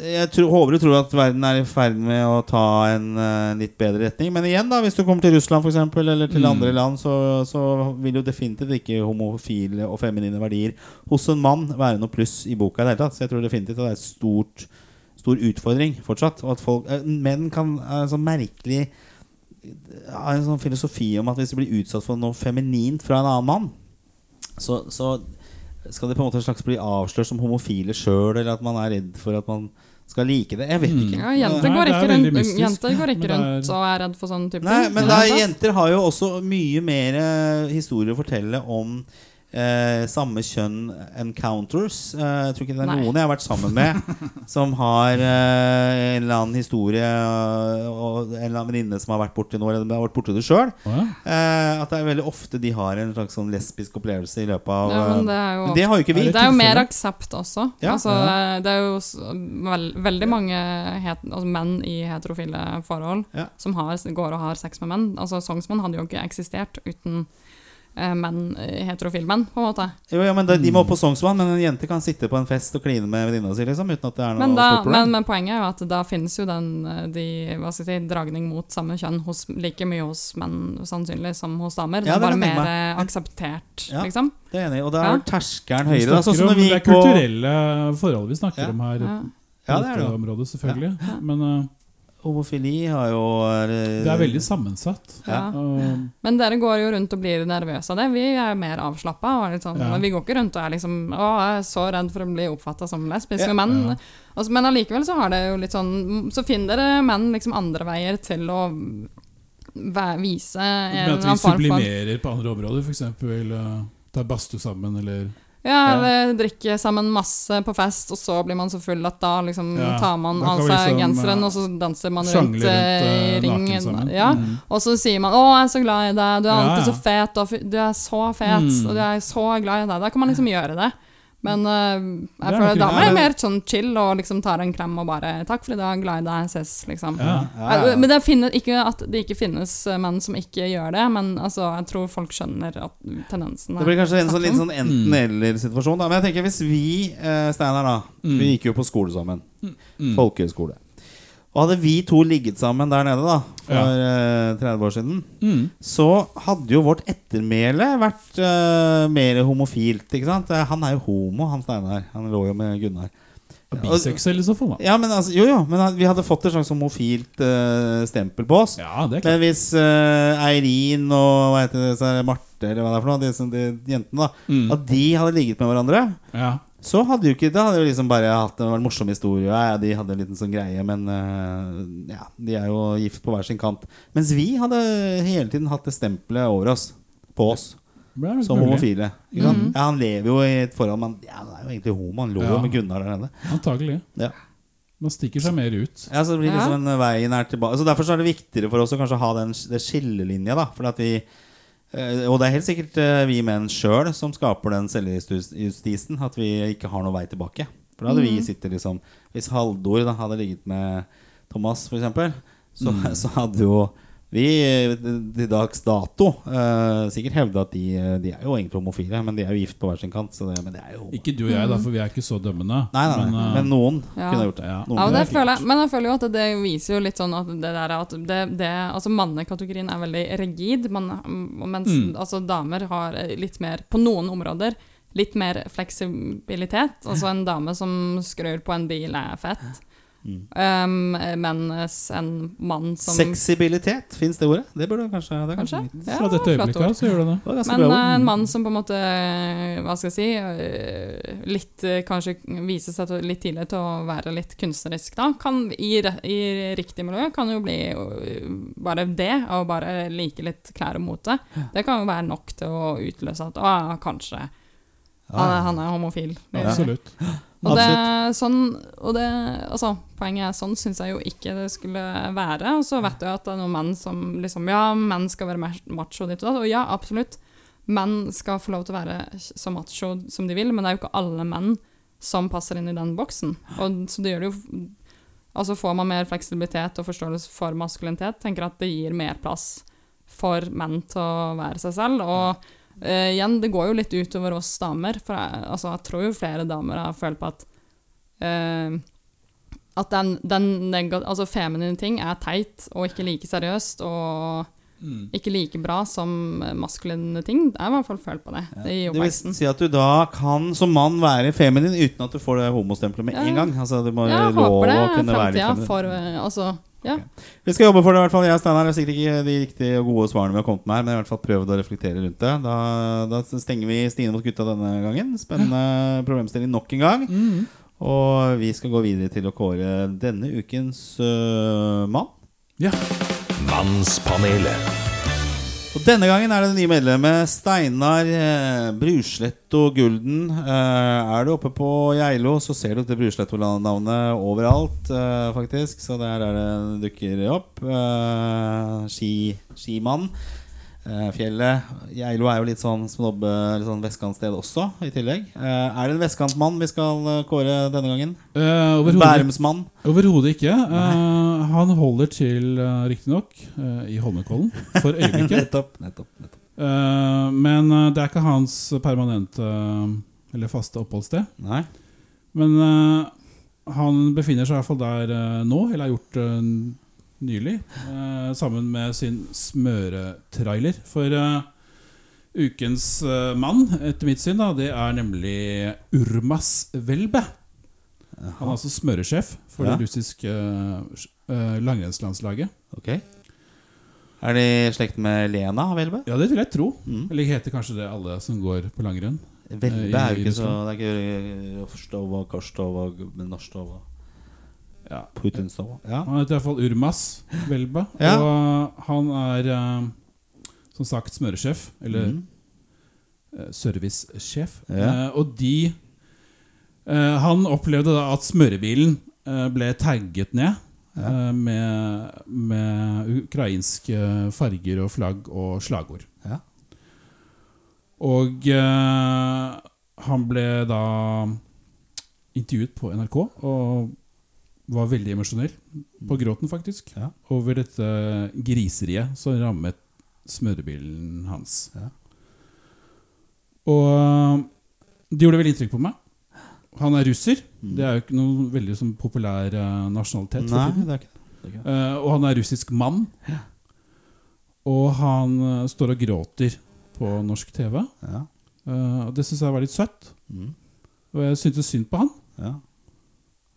jeg tror, håper og tror at verden er i ferd med å ta en eh, litt bedre retning. Men igjen, da, hvis du kommer til Russland for eksempel, eller til Mm. andre land, så, så vil jo definitivt ikke homofile og feminine verdier hos en mann være noe pluss i boka i det hele tatt. Så jeg tror definitivt at det er et stort stor utfordring fortsatt. Og at folk, eh, menn kan eh, sånn merkelig eh, ha en sånn filosofi om at hvis de blir utsatt for noe feminint fra en annen mann, så, så skal de på en måte slags bli avslørt som homofile sjøl, eller at man er redd for at man skal like det. Jeg vet Mm. ikke. ja, jenter, Nei, går det er ikke veldig rundt, mystisk. jenter går ikke Men det er- rundt og er redd for sånne typer Nei, ting. men i da, det hele tatt. jenter har jo også mye mer eh, historier å fortelle om eh, samme kjønn encounters. Eh, jeg tror ikke det er Nei. noen jeg har vært sammen <laughs> med som har eh, en eller annen historie eh, og en eller annen venninne som har vært borti noe, eller har vært borti det sjøl. Å, ja. Eh, at det er veldig ofte de har en slags sånn lesbisk opplevelse i løpet av Ja, men det eh, er jo Men det har jo ikke vi. er Det litt er jo mer tilfelle. aksept også. Ja, altså, Det er jo s- vel- veldig mange het, altså, menn i heterofile forhold Ja. som har, går og har sex med menn. Altså, Sognsmann hadde jo ikke eksistert uten eh, menn, eh, heterofile menn, på en måte. Jo, ja, men det, Mm. De må på Sognsvann, men en jente kan sitte på en fest og kline med venninna si liksom, uten at det er noe Men, da, stort problem. men, men poenget er jo at da finnes jo den eh, de, hva skal jeg si, dragning mot samme kjønn hos, like mye hos menn sannsynlig som hos damer. Ja, det er det bare kan jeg mer tenke eh, akseptert, Ja. liksom. Det er jeg enig, i, og da er Ja. jo terskelen Vi høyere. Da, sånn snakker som om, når vi det er gikk på kulturelle forhold vi snakker Ja. om her. Ja. Ja, På det er det dette jo. området, selvfølgelig. Men eh, Homofili har jo eh, det er veldig sammensatt. Ja. Ja. Og- Men dere går jo rundt og blir nervøse av det. Vi er mer avslappa. og er litt Sånn, Ja. Vi går ikke rundt og er liksom Å, jeg er så redd for å bli oppfatta som lesbisk Ja. med menn. Ja. Og så- men allikevel så har det jo litt sånn Så finner dere menn liksom andre veier til å væ- vise en Men at eller vi annen form for sublimerer på andre områder, f.eks. Uh, tar badstue sammen, eller Ja, eller drikke sammen masse på fest, og så blir man så full at da liksom Ja. tar man Da kan av vi seg liksom, genseren, eh, og så danser man rundt, sjangler rundt eh, i eh, naken sammen. ringen. Ja. Mm. Og så sier man 'Å, jeg er så glad i deg. Du er Ja, alltid ja. så fet. Og fy- du er så fet. Mm. Og du er så glad i deg.' Da kan man liksom gjøre det. Men eh, Det jeg er føler nok da må riktig. jeg mer sånn chill og liksom tar en klem og bare 'Takk for i dag. Glad i deg. Ses', liksom. Ja. Ja, ja. Eh, Men det finner, ikke at det ikke finnes eh, menn som ikke gjør det, men altså, jeg tror folk skjønner at tendensen Det blir kanskje en sånn, litt sånn Mm. enten-eller-situasjon. da Men jeg tenker hvis vi, eh, Steinar, da Mm. Vi gikk jo på skole sammen. Mm. Folkehøyskole. Og hadde vi to ligget sammen der nede da for Ja. eh, 30 år siden, Mm. så hadde jo vårt ettermæle vært eh, mer homofilt. Ikke sant? Eh, Han er jo homo, han Steinar. Han lå jo med Gunnar. Biseksuell i så fall, da. Ja, men altså, jo, jo, men han- vi hadde fått et slags homofilt eh, stempel på oss. Ja, det er klart. Men hvis eh, Eirin og hva heter det, så er det Marte eller hva det er for noe, de, som- de jentene, da Mm. at de hadde ligget med hverandre, Ja. Så hadde jo ikke Det hadde jo liksom bare hatt en vært morsom historie. Ja, ja, de hadde en liten sånn greie, men eh, ja, de er jo gift på hver sin kant. Mens vi hadde hele tiden hatt det stempelet over oss. På oss. Det er vel Som mulig. Mhm. homofile. Ikke sant? Ja, han lever jo i et forhold men ja, han er jo egentlig homo. Han lå jo Ja. med Gunnar der nede. Antagelig. Ja. Man stikker seg mer ut. Ja, så det blir Ja. liksom en vei nær tilbake Så Derfor så er det viktigere for oss å kanskje ha den, den skillelinja. da Fordi at vi eh, Og det er helt sikkert eh, vi menn sjøl som skaper den selvjustisen. At vi ikke har noen vei tilbake. For da hadde Mm. vi sittet liksom Hvis Haldor da hadde ligget med Thomas, for eksempel så, Mm. så hadde jo vi eh, til dags dato eh, sikkert hevda at de, eh, de er jo egentlig homofile, men de er jo gift på hver sin kant. Så det, men det er jo Nei, Ikke du og jeg, da, for vi er ikke så dømmende. nei, nei. Men, Men, eh, noen Ja. kunne ha gjort det. Ja. Noen Ja, og kunne det ha gjort føler jeg, men jeg føler jo at det viser jo litt sånn at det der at det, det, altså mannekategorien er veldig rigid, man, mens altså damer har litt mer, på noen områder, litt mer fleksibilitet. Altså en dame som skrur på en bil er fett, um, mens en mann som Sexibilitet, fins det ordet? Det burde kanskje det er Kanskje? litt- Ja, fra dette flott ord. øyeblikket så gjør det det. Det var ganske Men bra eh, ord. en mann som på en måte, eh, hva skal jeg si, eh, litt eh, kanskje viser seg til, litt tidligere til å være litt kunstnerisk, da, kan i, re- i riktig miljø kan jo bli eh, bare det, å bare like litt klær og mote. Det kan jo være nok til å utløse at å, ja, kanskje han, er- han er homofil. Absolutt. Og det, Absolutt. sånn, og det, altså, poenget er sånn syns jeg jo ikke det skulle være. Og så vet jeg at det er noen menn som liksom Ja, menn skal være mer macho ditt og datt. Og ja, absolutt. Menn skal få lov til å være så macho som de vil, men det er jo ikke alle menn som passer inn i den boksen. Og, så det gjør det jo Altså får man mer fleksibilitet og forståelse for maskulinitet, tenker at det gir mer plass for menn til å være seg selv. Og eh, igjen, det går jo litt utover oss damer, for jeg, altså, jeg tror jo flere damer har følt på at eh, at den, den nega- altså feminine ting er teit og ikke like seriøst og ikke like bra som maskuline ting. Jeg har i hvert fall følt på det i Det vil oppveksten. si at du da kan som mann være feminin uten at du får det homostempelet med Ja. en gang. Altså, du må Ja, jeg lov å håper det er kunne være litt framtida feminin. for eh, Altså, ja. Vi skal jobbe for det, i hvert fall. Jeg og Steinar er sikkert ikke de riktige og gode svarene vi har kommet med her, men i hvert fall prøvd å reflektere rundt det. Da, da stenger vi Stine mot gutta denne gangen. Spennende problemstilling nok en gang. Mm. Og vi skal gå videre til å kåre denne ukens øh, mann. Ja. Mannspanelet. Og denne gangen er det det nye medlemmet Steinar eh, Brusletto Gulden. Eh, er du oppe på Geilo, så ser du dette Brusletto-navnet overalt, eh, faktisk. Så det er der det dukker opp. Eh, ski, skimann. Eh, fjellet. Geilo er jo litt sånn snobbe, litt sånn vestkantsted også, i tillegg. Eh, er det en vestkantmann vi skal eh, kåre denne gangen? Eh, overhodet Bærumsmann. Overhodet ikke. Eh, han holder til, uh, riktignok, uh, i Holmenkollen for øyeblikket. <laughs> Nettopp. nettopp, nettopp. Eh, men eh, det er ikke hans permanente eh, eller faste oppholdssted. Nei. Men eh, han befinner seg i hvert fall der eh, nå, eller har gjort det eh, nylig, eh, sammen med sin smøretrailer. For eh, ukens eh, mann, etter mitt syn, da, det er nemlig Urmas Welbe. Han er altså smøresjef for Ja. det russiske eh, s- eh, langrennslandslaget. Ok. Er de i slekt med Lena Mm. Welbe? Ja, det vil jeg tro. Eller heter kanskje det alle som går på langrenn. Velbe Eh, i er jo ikke eh, så Russland. Det er ikke Rostova, Karstova, Norstova Ja. Putinstova. Ja. Han heter iallfall Urmas Velba. Ja. Og han er eh, som sagt smøresjef, Mm. eller eh, servicesjef. Ja. Eh, og de eh, Han opplevde da at smørebilen eh, ble tagget ned eh, med, med ukrainske farger og flagg og slagord. Ja. Og eh, han ble da intervjuet på NRK og var veldig emosjonell. På gråten, faktisk. Ja. Over dette griseriet som rammet smørebilen hans. Ja. Og eh, det gjorde veldig inntrykk på meg. Han er russer. Det er jo ikke noen veldig sånn, populær eh, nasjonalitet. Mm. for Nei, tiden. det er ikke det. det. er ikke det. Eh, og han er russisk mann. Og han eh, står og gråter på norsk TV. Ja. Eh, og det syns jeg var litt søtt. Mm. Og jeg syntes synd på han. Ja.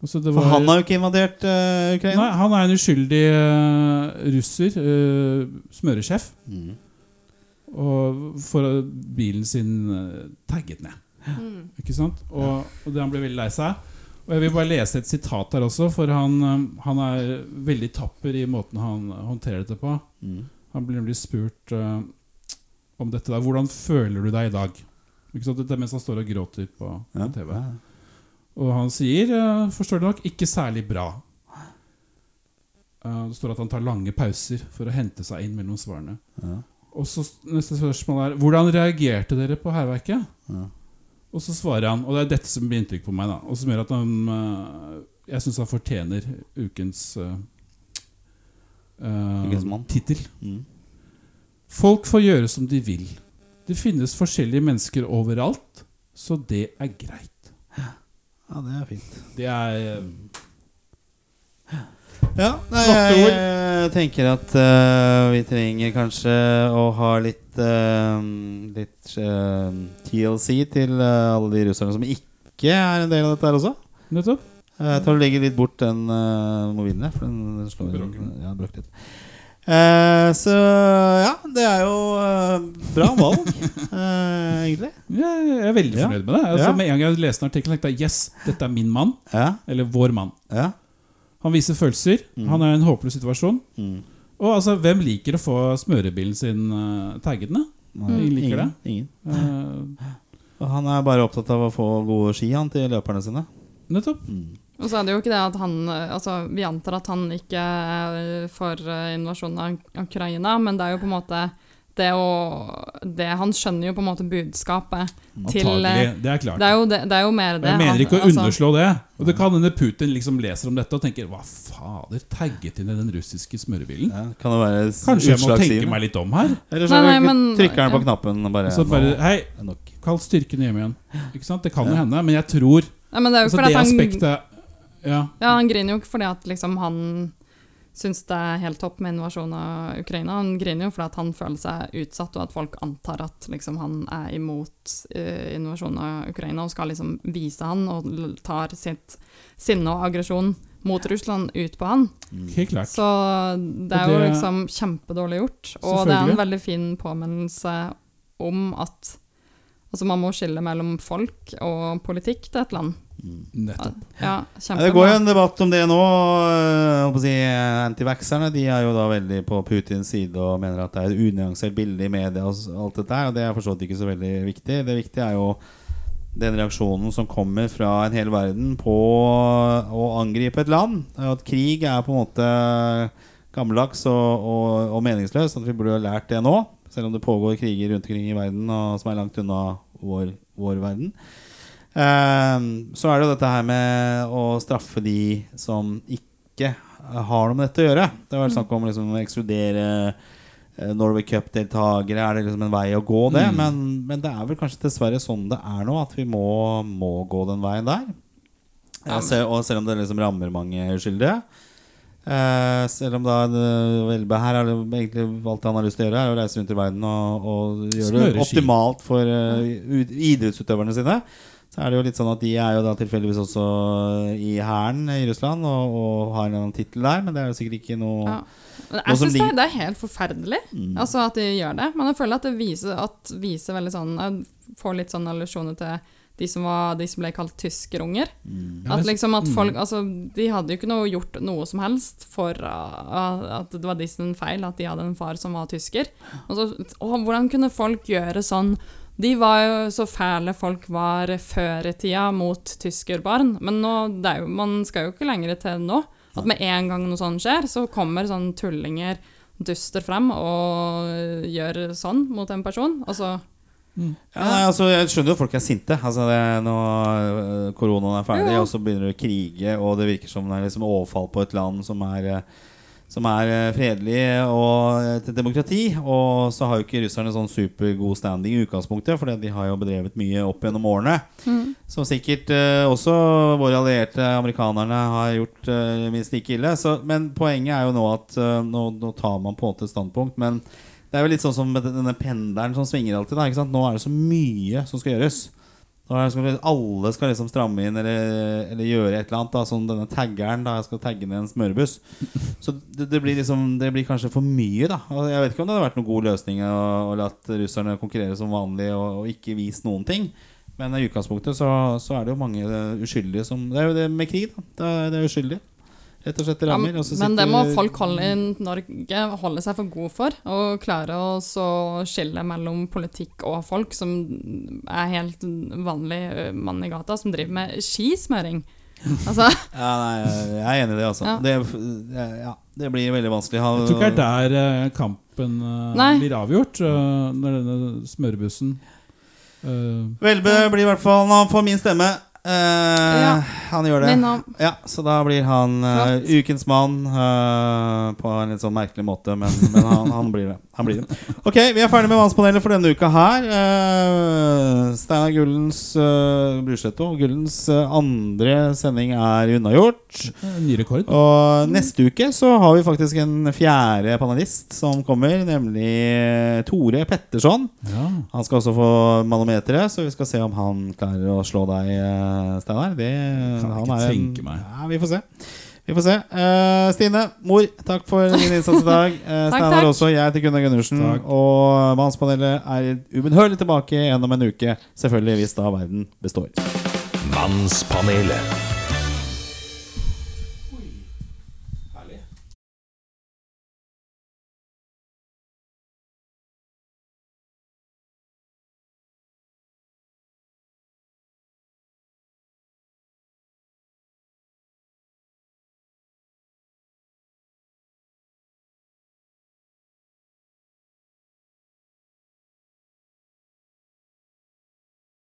Altså, det For var- han har jo ikke invadert eh, Ukraina. Nei, han er en uskyldig eh, russer, eh, smøresjef, Mm. og får eh, bilen sin eh, tagget ned. Ikke sant? Og, og det han ble veldig lei seg. Og jeg vil bare lese et sitat her også, for han, eh, han er veldig tapper i måten han håndterer dette på. Mm. Han blir nemlig spurt eh, om dette der. Hvordan føler du deg i dag? Ikke sant? Dette er mens han står og gråter på på Ja. TV. Og han sier, eh, forstår du nok, ikke særlig bra. Eh, Det står at han tar lange pauser for å hente seg inn mellom svarene. Ja. Og så s- Neste spørsmål er hvordan reagerte dere på hærverket? Ja. Og så svarer han, og det er dette som blir inntrykk på meg, da, og som gjør at han eh, Jeg syns han fortjener ukens uh, Ukens mann. tittel. Mm. Folk får gjøre som de vil. Det finnes forskjellige mennesker overalt, så det er greit. ja, det er fint. Det er eh, Ja, nei, Flotte jeg ord. eh, tenker at eh, vi trenger kanskje å ha litt eh, Litt eh, TLC til eh, alle de russerne som ikke er en del av dette her også. Nettopp. Eh, Jeg tar og legger litt bort den eh, mobilen der, for den, den slår Bråker den. Ja, den bråker litt. Eh, så ja, det er jo eh, bra valg, eh, egentlig. Jeg jeg er veldig Ja. fornøyd med det. Altså, Ja. Med en gang jeg leste artikkelen, tenkte jeg yes, dette er min mann. Ja, Eller vår mann. ja. Han viser følelser. Han er i en håpløs situasjon. Mm. Og altså, hvem liker å få smørebilen sin uh, taggende? Nei, Jeg liker ingen, Ingen. Eh, Og han er bare opptatt av å få gode ski han til løperne sine. nettopp. Og så er det jo ikke det at han eh, Altså, vi antar at han ikke er for eh, invasjonen av Ukraina, men det er jo på en måte det å det, Han skjønner jo på en måte budskapet til eh, Antagelig. Det er klart. Det er jo, det, det er jo mer Og det. jeg mener at- ikke å altså- underslå det. Og Det kan hende Putin liksom leser om dette og tenker Hva fader, tagget inn i den russiske smørebilen? Ja, kan det være s- Kanskje jeg må tenke utslagsgivende? meg litt om her? Eller så Nei, nei, er det- men- trykker han på ja. knappen og bare, Så bare, nå hei, er det nok. kall styrkene hjem igjen. Ikke sant? Det kan jo hende, men jeg tror Nei, men det er jo altså, fordi det at han, aspektet Ja. Ja, han griner jo ikke fordi at liksom han syns det er helt topp med invasjonen av Ukraina. Han griner jo fordi at han føler seg utsatt, og at folk antar at liksom han er imot eh, invasjonen av Ukraina og skal liksom vise han og l- tar sitt sinne og aggresjon mot Russland ut på han. Helt klart. Så det er Og jo det- liksom kjempedårlig gjort. Og det er Selvfølgelig. en veldig fin påminnelse om at altså man må skille mellom folk og politikk til et land. Nettopp. Ja, Ja, kjempebra. det går jo en debatt om det nå. og, eh, holdt på å si, eh, Antivaxerne de er jo da veldig på Putins side og mener at det er et unyansert bilde i media. og s- alt dette her, og Det er for så vidt ikke så veldig viktig. Det viktige er jo den reaksjonen som kommer fra en hel verden på å angripe et land. Og At krig er på en måte gammeldags og, og, og meningsløs. At vi burde ha lært det nå. Selv om det pågår kriger rundt omkring i verden og som er langt unna vår, vår verden. Ehm, så er det jo dette her med å straffe de som ikke har noe med dette å gjøre. Det var snakk om liksom å ekskludere eh, Norway Cup-deltakere. Er det liksom en vei å gå, det? Mm. Men, men det er vel kanskje dessverre sånn det er nå, at vi må, må gå den veien der. Eh, selv, og selv om det liksom rammer mange uskyldige. Eh, selv om da eh, Velbe her har jo egentlig alt han har lyst til å gjøre, er å reise rundt i verden og, og gjøre det Smøre ski. optimalt for eh, ut- idrettsutøverne sine. Så er det jo litt sånn at de er jo da tilfeldigvis også i hæren i Russland og, og har en annen tittel der, men det er jo sikkert ikke noe Ja. Men Og som Jeg Mm. syns det, lik- det er helt forferdelig altså at de gjør det. Men jeg føler at det viser, at viser veldig sånn Jeg får litt sånn allusjoner til de som, var, de som ble kalt tyskerunger. Ja, At det- liksom at folk Altså, de hadde jo ikke noe gjort noe som helst for uh, at det var de sin feil at de hadde en far som var tysker. Og så, å, hvordan kunne folk gjøre sånn? De var jo så fæle folk var før i tida mot tyskerbarn, men nå, det er jo, man skal jo ikke lenger til nå. At med en gang noe sånt skjer, så kommer sånne tullinger, duster frem og gjør sånn mot en person. Altså, Og så Ja, nei, altså, jeg skjønner jo at folk er sinte. Altså, det, er nå øh, koronaen er ferdig, Ja. og så begynner det å krige, og det virker som det er liksom overfall på et land som er øh, som er øh, fredelig og et demokrati. Og så har jo ikke russerne sånn supergod standing i utgangspunktet, for de har jo bedrevet mye opp gjennom årene. Som sikkert eh, også våre allierte amerikanerne har gjort eh, minst like ille. Så, men poenget er jo nå at eh, nå, nå tar man på en måte et standpunkt. Men det er jo litt sånn som med denne pendelen som svinger alltid. Da, ikke sant? Nå er det så mye som skal gjøres. Nå er det sånn at alle skal liksom stramme inn eller, eller gjøre et eller annet. Da, som denne taggeren. Da, jeg skal tagge ned en <laughs> smørebuss. Så det, det, blir liksom, det blir kanskje for mye, da. Og Jeg vet ikke om det hadde vært noen god løsning å, å la russerne konkurrere som vanlig og, og ikke vise noen ting. Men i utgangspunktet så, så er det jo mange eh, uskyldige som Det er jo det med krig, da. Det er, det er uskyldig. Rett og slett det Ja, rammer. men og så men det må sitter- folk holde i Norge holde seg for gode for, og klare å så skille mellom politikk og folk som er helt vanlig ø, mann i gata, som driver med <laughs> skismøring. Altså, Ja, nei, jeg- jeg er enig i det, altså. Ja. Det, det- ja, det blir veldig vanskelig. Ha, Jeg tror ikke det er der eh, kampen eh, Nei. blir avgjort, eh, når denne smørebussen eh, Velbø blir i hvert fall Han får min stemme. Eh, Ja. Han gjør det. min navn. Ja, Så da blir han eh, ukens mann eh, på en litt sånn merkelig måte, men, men han, han, blir det. han blir det. Ok, vi er ferdig med Mannspanelet for denne uka her. Eh, Steinar Gullens uh, Brusletto. Gullens eh, andre sending er unnagjort. Ny rekord. Og neste uke så har vi faktisk en fjerde panelist som kommer, nemlig Tore Petterson. Ja. Han skal også få manometeret, så vi skal se om han klarer å slå deg, eh, Steinar. Det Kan han ikke er en- tenke meg. Ja, vi får se. Vi får se. Eh, Stine, mor, takk for din innsats i <laughs> dag. Uh, Takk, Steinar takk. også. Jeg heter Gunnar Gundersen. Takk. Og Mannspanelet er ubønnhørlig tilbake gjennom en uke. Selvfølgelig hvis da verden består. Mannspanelet.